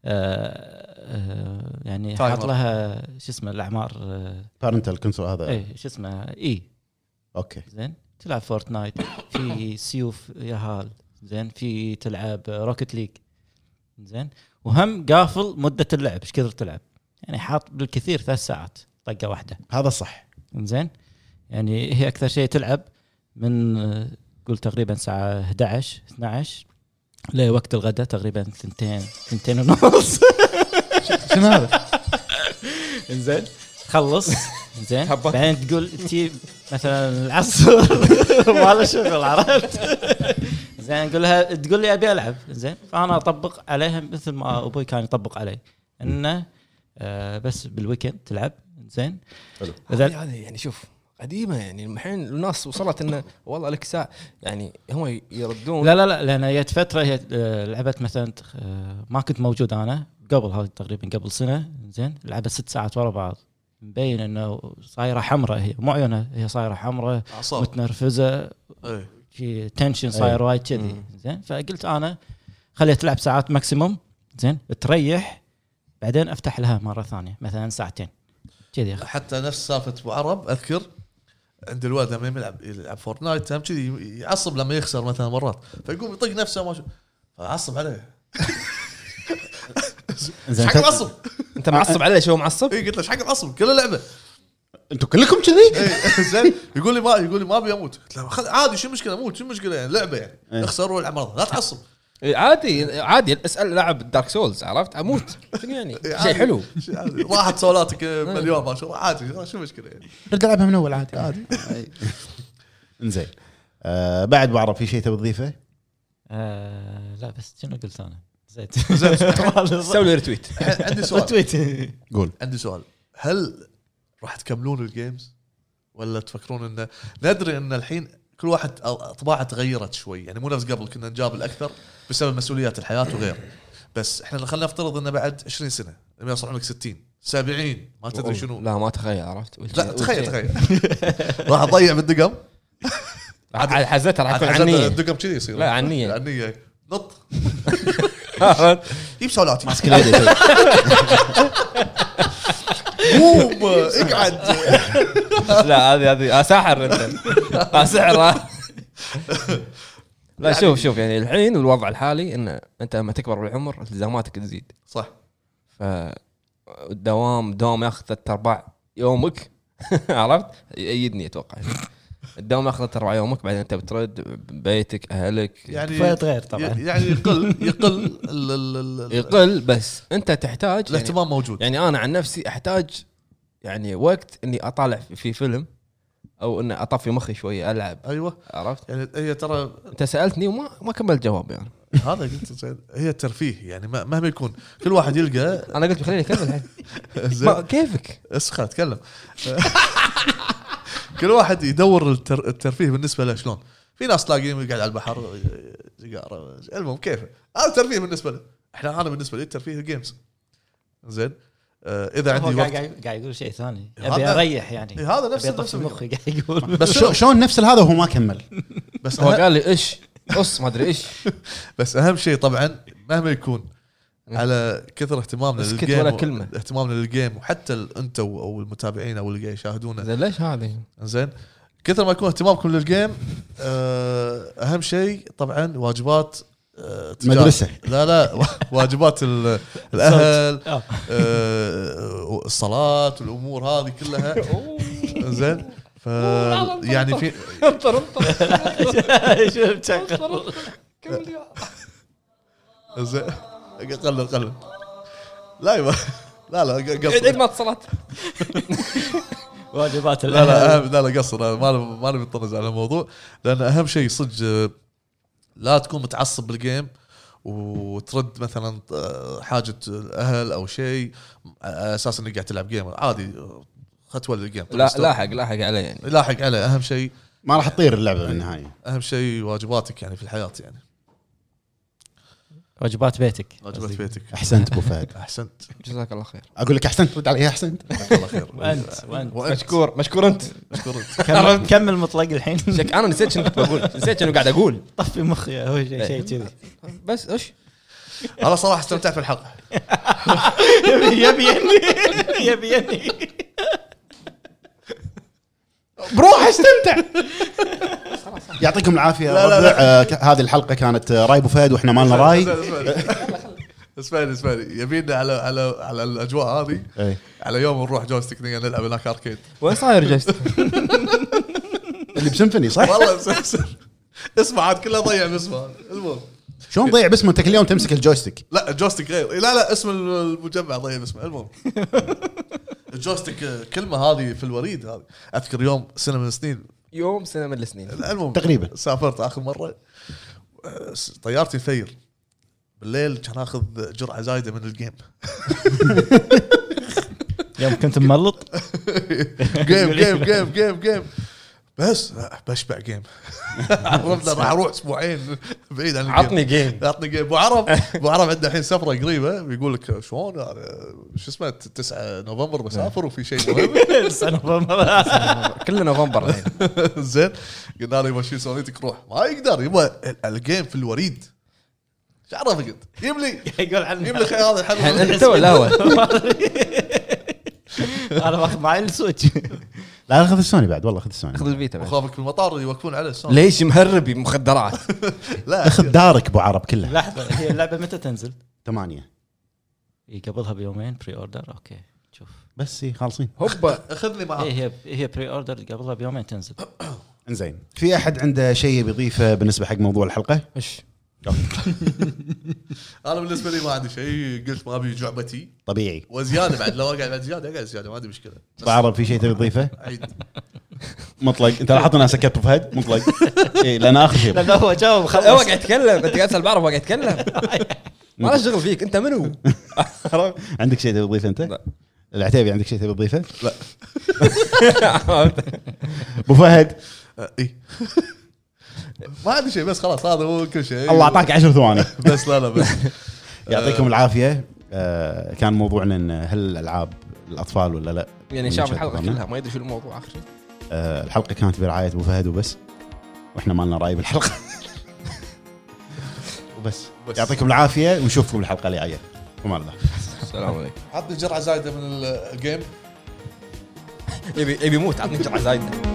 Speaker 3: آه، آه، يعني
Speaker 4: تايمر.
Speaker 3: حاط لها شو اسمه الاعمار آه،
Speaker 1: بارنتال كنسول هذا
Speaker 3: ايه شو اسمه اي
Speaker 1: اوكي
Speaker 3: زين تلعب فورتنايت في سيوف يهال زين في تلعب روكت ليج زين وهم قافل مده اللعب ايش كثر تلعب يعني حاط بالكثير ثلاث ساعات طقه واحده
Speaker 1: هذا صح
Speaker 3: زين يعني هي اكثر شيء تلعب من آه، قول تقريبا الساعه 11 12 لوقت الغداء تقريبا ثنتين ثنتين ونص
Speaker 1: شنو هذا؟
Speaker 3: انزين تخلص زين
Speaker 2: هبط.
Speaker 3: بعدين تقول تجيب مثلا العصر ما له شغل عرفت زين اقول لها تقول لي ابي العب زين فانا اطبق عليها مثل ما ابوي كان يطبق علي انه آه، بس بالويكند تلعب زين
Speaker 1: حلو.
Speaker 3: إذا-
Speaker 2: هذه هذه يعني شوف قديمه يعني الحين الناس وصلت انه والله لك ساعه يعني هم يردون
Speaker 3: لا لا لا لان جت فتره هي آه، لعبت مثلا آه، ما كنت موجود انا قبل هذه تقريبا قبل سنه زين لعبت ست ساعات ورا بعض مبين انه صايره حمراء هي مو عيونها هي صايره حمراء
Speaker 4: اعصاب
Speaker 3: متنرفزه
Speaker 4: إيه.
Speaker 3: في تنشن صاير وايد كذي
Speaker 2: مم.
Speaker 3: زين فقلت انا خليها تلعب ساعات ماكسيموم زين تريح بعدين افتح لها مره ثانيه مثلا ساعتين كذي أخ-
Speaker 4: حتى نفس سالفه ابو عرب اذكر عند الواد لما يلعب يلعب فورتنايت هم كذي يعصب لما يخسر مثلا مرات فيقوم يطق نفسه ما شو فعصب عليه ايش
Speaker 1: زين
Speaker 4: حق العصب؟
Speaker 2: انت معصب عليه شو معصب؟
Speaker 4: اي قلت له ايش حق العصب؟ كل لعبه
Speaker 1: انتم كلكم كذي؟
Speaker 4: إي، إيه، زين يقول لي ما يقول لي ما ابي اموت قلت له خل- عادي شو المشكله موت شو المشكله يعني لعبه يعني
Speaker 1: إيه.
Speaker 4: اخسر والعب مره لا تعصب
Speaker 2: إيه، عادي عادي اسال لاعب دارك سولز عرفت اموت شنو يعني؟ شيء
Speaker 4: إيه، عادي.
Speaker 2: حلو إيه.
Speaker 4: شي عادي. راحت سولاتك مليون ما شاء الله عادي شو المشكله يعني
Speaker 1: رد العبها من اول عادي عادي انزين آه بعد بعرف في شيء تبي تضيفه
Speaker 3: آه لا بس شنو قلت انا؟ زيت
Speaker 4: زين.
Speaker 2: سوي لي ريتويت
Speaker 4: الحين عندي سؤال
Speaker 3: تويت
Speaker 1: قول
Speaker 4: عندي سؤال هل راح تكملون الجيمز ولا تفكرون انه ندري ان الحين كل واحد أ- اطباعه تغيرت شوي يعني مو نفس قبل كنا نجاب الاكثر بسبب مسؤوليات الحياه وغيره بس احنا خلينا نفترض انه بعد 20 سنه لما يوصل عمرك 60 70 ما تدري شنو
Speaker 2: لا ما تخيل عرفت
Speaker 4: لا تخيل تخيل راح اضيع بالدقم
Speaker 2: على حزتها راح تكون
Speaker 4: عاد
Speaker 2: عنيه
Speaker 4: الدقم كذي يصير
Speaker 2: لا، عنية.
Speaker 4: عنيه نط
Speaker 2: عرفت؟
Speaker 4: جيب سولاتي
Speaker 1: ماسك اليد يسوي.
Speaker 4: قوم اقعد
Speaker 2: لا هذه هذه آه، ساحر انت آه، سحر آه. لا شوف شوف يعني الحين الوضع الحالي ان انت لما تكبر بالعمر التزاماتك تزيد
Speaker 4: صح
Speaker 2: ف الدوام دوام ياخذ ثلاث ارباع يومك عرفت؟ يأيدني اتوقع الدوام ياخذ ثلاث ارباع يومك بعدين انت بترد بيتك اهلك
Speaker 4: يعني
Speaker 3: فئة غير طبعاً.
Speaker 4: ي- يعني يقل يقل ال- ال- ال- ال-
Speaker 2: يقل بس انت تحتاج يعني-
Speaker 4: الاهتمام موجود
Speaker 2: يعني انا عن نفسي احتاج يعني وقت اني اطالع في فيلم او اني اطفي مخي شويه العب
Speaker 4: ايوه
Speaker 2: عرفت؟
Speaker 4: يعني هي ترى
Speaker 2: انت سالتني وما ما كملت جواب يعني
Speaker 4: هذا قلت زين، هي ترفيه يعني ما- مهما يكون كل واحد يلقى
Speaker 2: انا قلت خليني اكمل الحين
Speaker 4: زين
Speaker 2: ما- كيفك
Speaker 4: اسخه اتكلم إيه، كل واحد يدور التر- الترفيه بالنسبه له شلون في ناس تلاقيهم يقعد على البحر سيجاره المهم كيفه هذا ترفيه بالنسبه له احنا انا بالنسبه لي الترفيه الجيمز زين آه، اذا
Speaker 3: هو
Speaker 4: عندي
Speaker 3: قاعد
Speaker 4: وقت
Speaker 3: قاعد- قاعد يقول شيء ثاني
Speaker 4: هذا-
Speaker 3: ابي اريح يعني
Speaker 4: إيه، هذا نفس
Speaker 3: ابي
Speaker 4: نفس
Speaker 3: اطفي
Speaker 4: المخ
Speaker 3: مخي قاعد يقول
Speaker 4: بس
Speaker 1: شو- شلون نفس هذا وهو ما كمل
Speaker 4: بس
Speaker 2: هو
Speaker 4: أنا-
Speaker 2: قال لي ايش قص ما ادري ايش
Speaker 4: بس اهم شيء طبعا مهما يكون على كثر اهتمامنا
Speaker 2: اسكت
Speaker 4: للجيم
Speaker 2: ولا
Speaker 4: و-
Speaker 2: كلمة.
Speaker 4: اهتمامنا للجيم وحتى ال- انتم او المتابعين او اللي قاعد يشاهدونا
Speaker 2: زين ليش هذه؟
Speaker 4: زين كثر ما يكون اهتمامكم للجيم آه، اهم شيء طبعا واجبات آه، تجاه-
Speaker 1: مدرسة.
Speaker 4: لا لا وا- واجبات ال- الاهل
Speaker 3: آه.
Speaker 4: آه، الصلاه والامور هذه كلها زين ف يعني في
Speaker 2: انطر انطر
Speaker 3: شو مشغل؟
Speaker 4: زين قلل قلل لا يبا لا لا ق- قصر
Speaker 2: عيد ما اتصلت
Speaker 3: واجبات
Speaker 4: لا لا
Speaker 3: الاهل
Speaker 4: أهم لا لا قصر أنا ما نب- ما نبي نطنز على الموضوع لان اهم شيء صدق آه، لا تكون متعصب بالجيم وترد مثلا آه، حاجه الاهل او شيء على اساس انك قاعد تلعب جيم عادي آه، ختوه للجيم
Speaker 2: لا لاحق لاحق علي يعني
Speaker 4: لاحق طيب، عليه اهم شيء
Speaker 1: ما راح تطير اللعبه بالنهايه
Speaker 4: اهم شيء واجباتك يعني في الحياه يعني
Speaker 3: واجبات بيتك
Speaker 4: واجبات بيتك
Speaker 1: احسنت ابو فهد
Speaker 4: احسنت
Speaker 2: جزاك الله خير
Speaker 1: اقول لك احسنت رد علي احسنت
Speaker 4: جزاك الله خير
Speaker 3: وانت وانت
Speaker 4: وانت
Speaker 2: مشكور مشكور انت
Speaker 4: مشكور
Speaker 3: كمل- كمل مطلق الحين
Speaker 2: شك انا نسيت شنو كنت بقول نسيت شنو قاعد اقول
Speaker 3: طفي مخي هو شيء شيء كذي
Speaker 2: بس ايش
Speaker 4: انا صراحه استمتعت في الحلقه
Speaker 3: يبي يبي يبي يبي
Speaker 1: بروح استمتع يعطيكم العافيه
Speaker 4: لا، لا،
Speaker 1: الربع. آه، ك- هذه الحلقه كانت آه، راي ابو فهد واحنا مالنا راي
Speaker 4: اسمعني اسمعني يبينا على على على الاجواء هذه
Speaker 1: إيه.
Speaker 4: على يوم نروح جوستيك نلعب هناك اركيد
Speaker 2: وين صاير جست
Speaker 1: اللي بسيمفوني صح؟
Speaker 4: والله مسلسل اسمع عاد كله ضيع باسمه هذا. المهم
Speaker 1: شلون تضيع باسمه انت كل يوم تمسك الجويستيك
Speaker 4: لا جوستيك غير لا لا اسم المجمع ضيع باسمه المهم الجوستيك آه، كلمه هذه في الوريد هذه اذكر يوم سنه من السنين
Speaker 2: يوم سنه من السنين
Speaker 4: المهم
Speaker 1: تقريباً.
Speaker 4: سافرت اخر مره آه، طيارتي فير بالليل كان اخذ جرعه زايده من الجيم
Speaker 3: يوم كنت مملط
Speaker 4: جيم جيم جيم جيم جيم بس آه، بشبع جيم عرفنا راح اروح اسبوعين بعيد عن الجيم
Speaker 2: عطني جيم
Speaker 4: عطني جيم ابو عرب ابو عرب عنده الحين سفره قريبه بيقول لك شلون أنا- شو اسمه 9 نوفمبر بسافر وفي شيء مهم
Speaker 2: كله نوفمبر الحين
Speaker 4: زين قلنا له يبا شيل سونيتك روح ما يقدر يبا ال- الجيم في الوريد ايش عرفك انت؟ جيب لي
Speaker 3: يقول
Speaker 4: جيب
Speaker 3: عني
Speaker 4: لي خي- هذا
Speaker 2: الحين
Speaker 3: يعني
Speaker 4: الحل
Speaker 2: انت ولا هو
Speaker 3: انا ماخذ معي السويتش
Speaker 1: لا خذ السوني بعد والله خذ السوني
Speaker 2: خذ الفيتا بعد.
Speaker 4: وخافك بالمطار يوقفون على السوني
Speaker 2: ليش مهرب مخدرات
Speaker 4: لا
Speaker 1: اخذ دارك ابو عرب كلها
Speaker 3: لحظه هي اللعبه متى تنزل؟
Speaker 1: ثمانية
Speaker 3: إي، إيه، قبلها بيومين بري اوردر اوكي شوف
Speaker 1: بس إي، خالصين
Speaker 2: هوبا
Speaker 4: اخذني
Speaker 3: هي
Speaker 4: معاك
Speaker 3: إيه هي هي بري اوردر قبلها بيومين تنزل
Speaker 1: انزين في احد عنده شيء بيضيفه بالنسبه حق موضوع الحلقه؟
Speaker 2: ايش
Speaker 4: انا بالنسبه لي ما عندي شيء قلت ما ابي جعبتي
Speaker 1: طبيعي
Speaker 4: وزياده بعد لو اقعد بعد زياده اقعد زياده ما عندي مشكله
Speaker 1: ابو عرب في شيء تبي تضيفه؟
Speaker 4: عيد
Speaker 1: مطلق انت لاحظت انا سكت بفهد مطلق اي لان اخر شيء
Speaker 3: لانه هو جاوب
Speaker 2: هو
Speaker 3: خلص
Speaker 2: قاعد يتكلم انت قاعد تسال بعرف هو قاعد يتكلم ما له شغل فيك انت منو؟
Speaker 1: عندك شيء تبي تضيفه انت؟
Speaker 2: لا.
Speaker 1: العتيبي عندك شيء تبي تضيفه؟
Speaker 4: لا
Speaker 1: ابو فهد
Speaker 4: إيه. اي آه، ما عندي شيء بس خلاص هذا هو كل شيء
Speaker 1: الله اعطاك 10 ثواني
Speaker 4: بس لا لا بس
Speaker 1: يعطيكم العافيه آه، كان موضوعنا ان هل الالعاب الاطفال ولا لا؟
Speaker 2: يعني شاف الحلقه كلها ما يدري شو الموضوع اخر شيء
Speaker 1: آه، الحلقه كانت برعايه ابو فهد وبس واحنا ما لنا راي بالحلقه وبس
Speaker 4: بس.
Speaker 1: يعطيكم العافيه ونشوفكم الحلقه اللي جايه وما الله
Speaker 2: السلام عليكم
Speaker 4: عطني جرعه زايده من الجيم
Speaker 2: يبي يبي يموت عطني جرعه زايده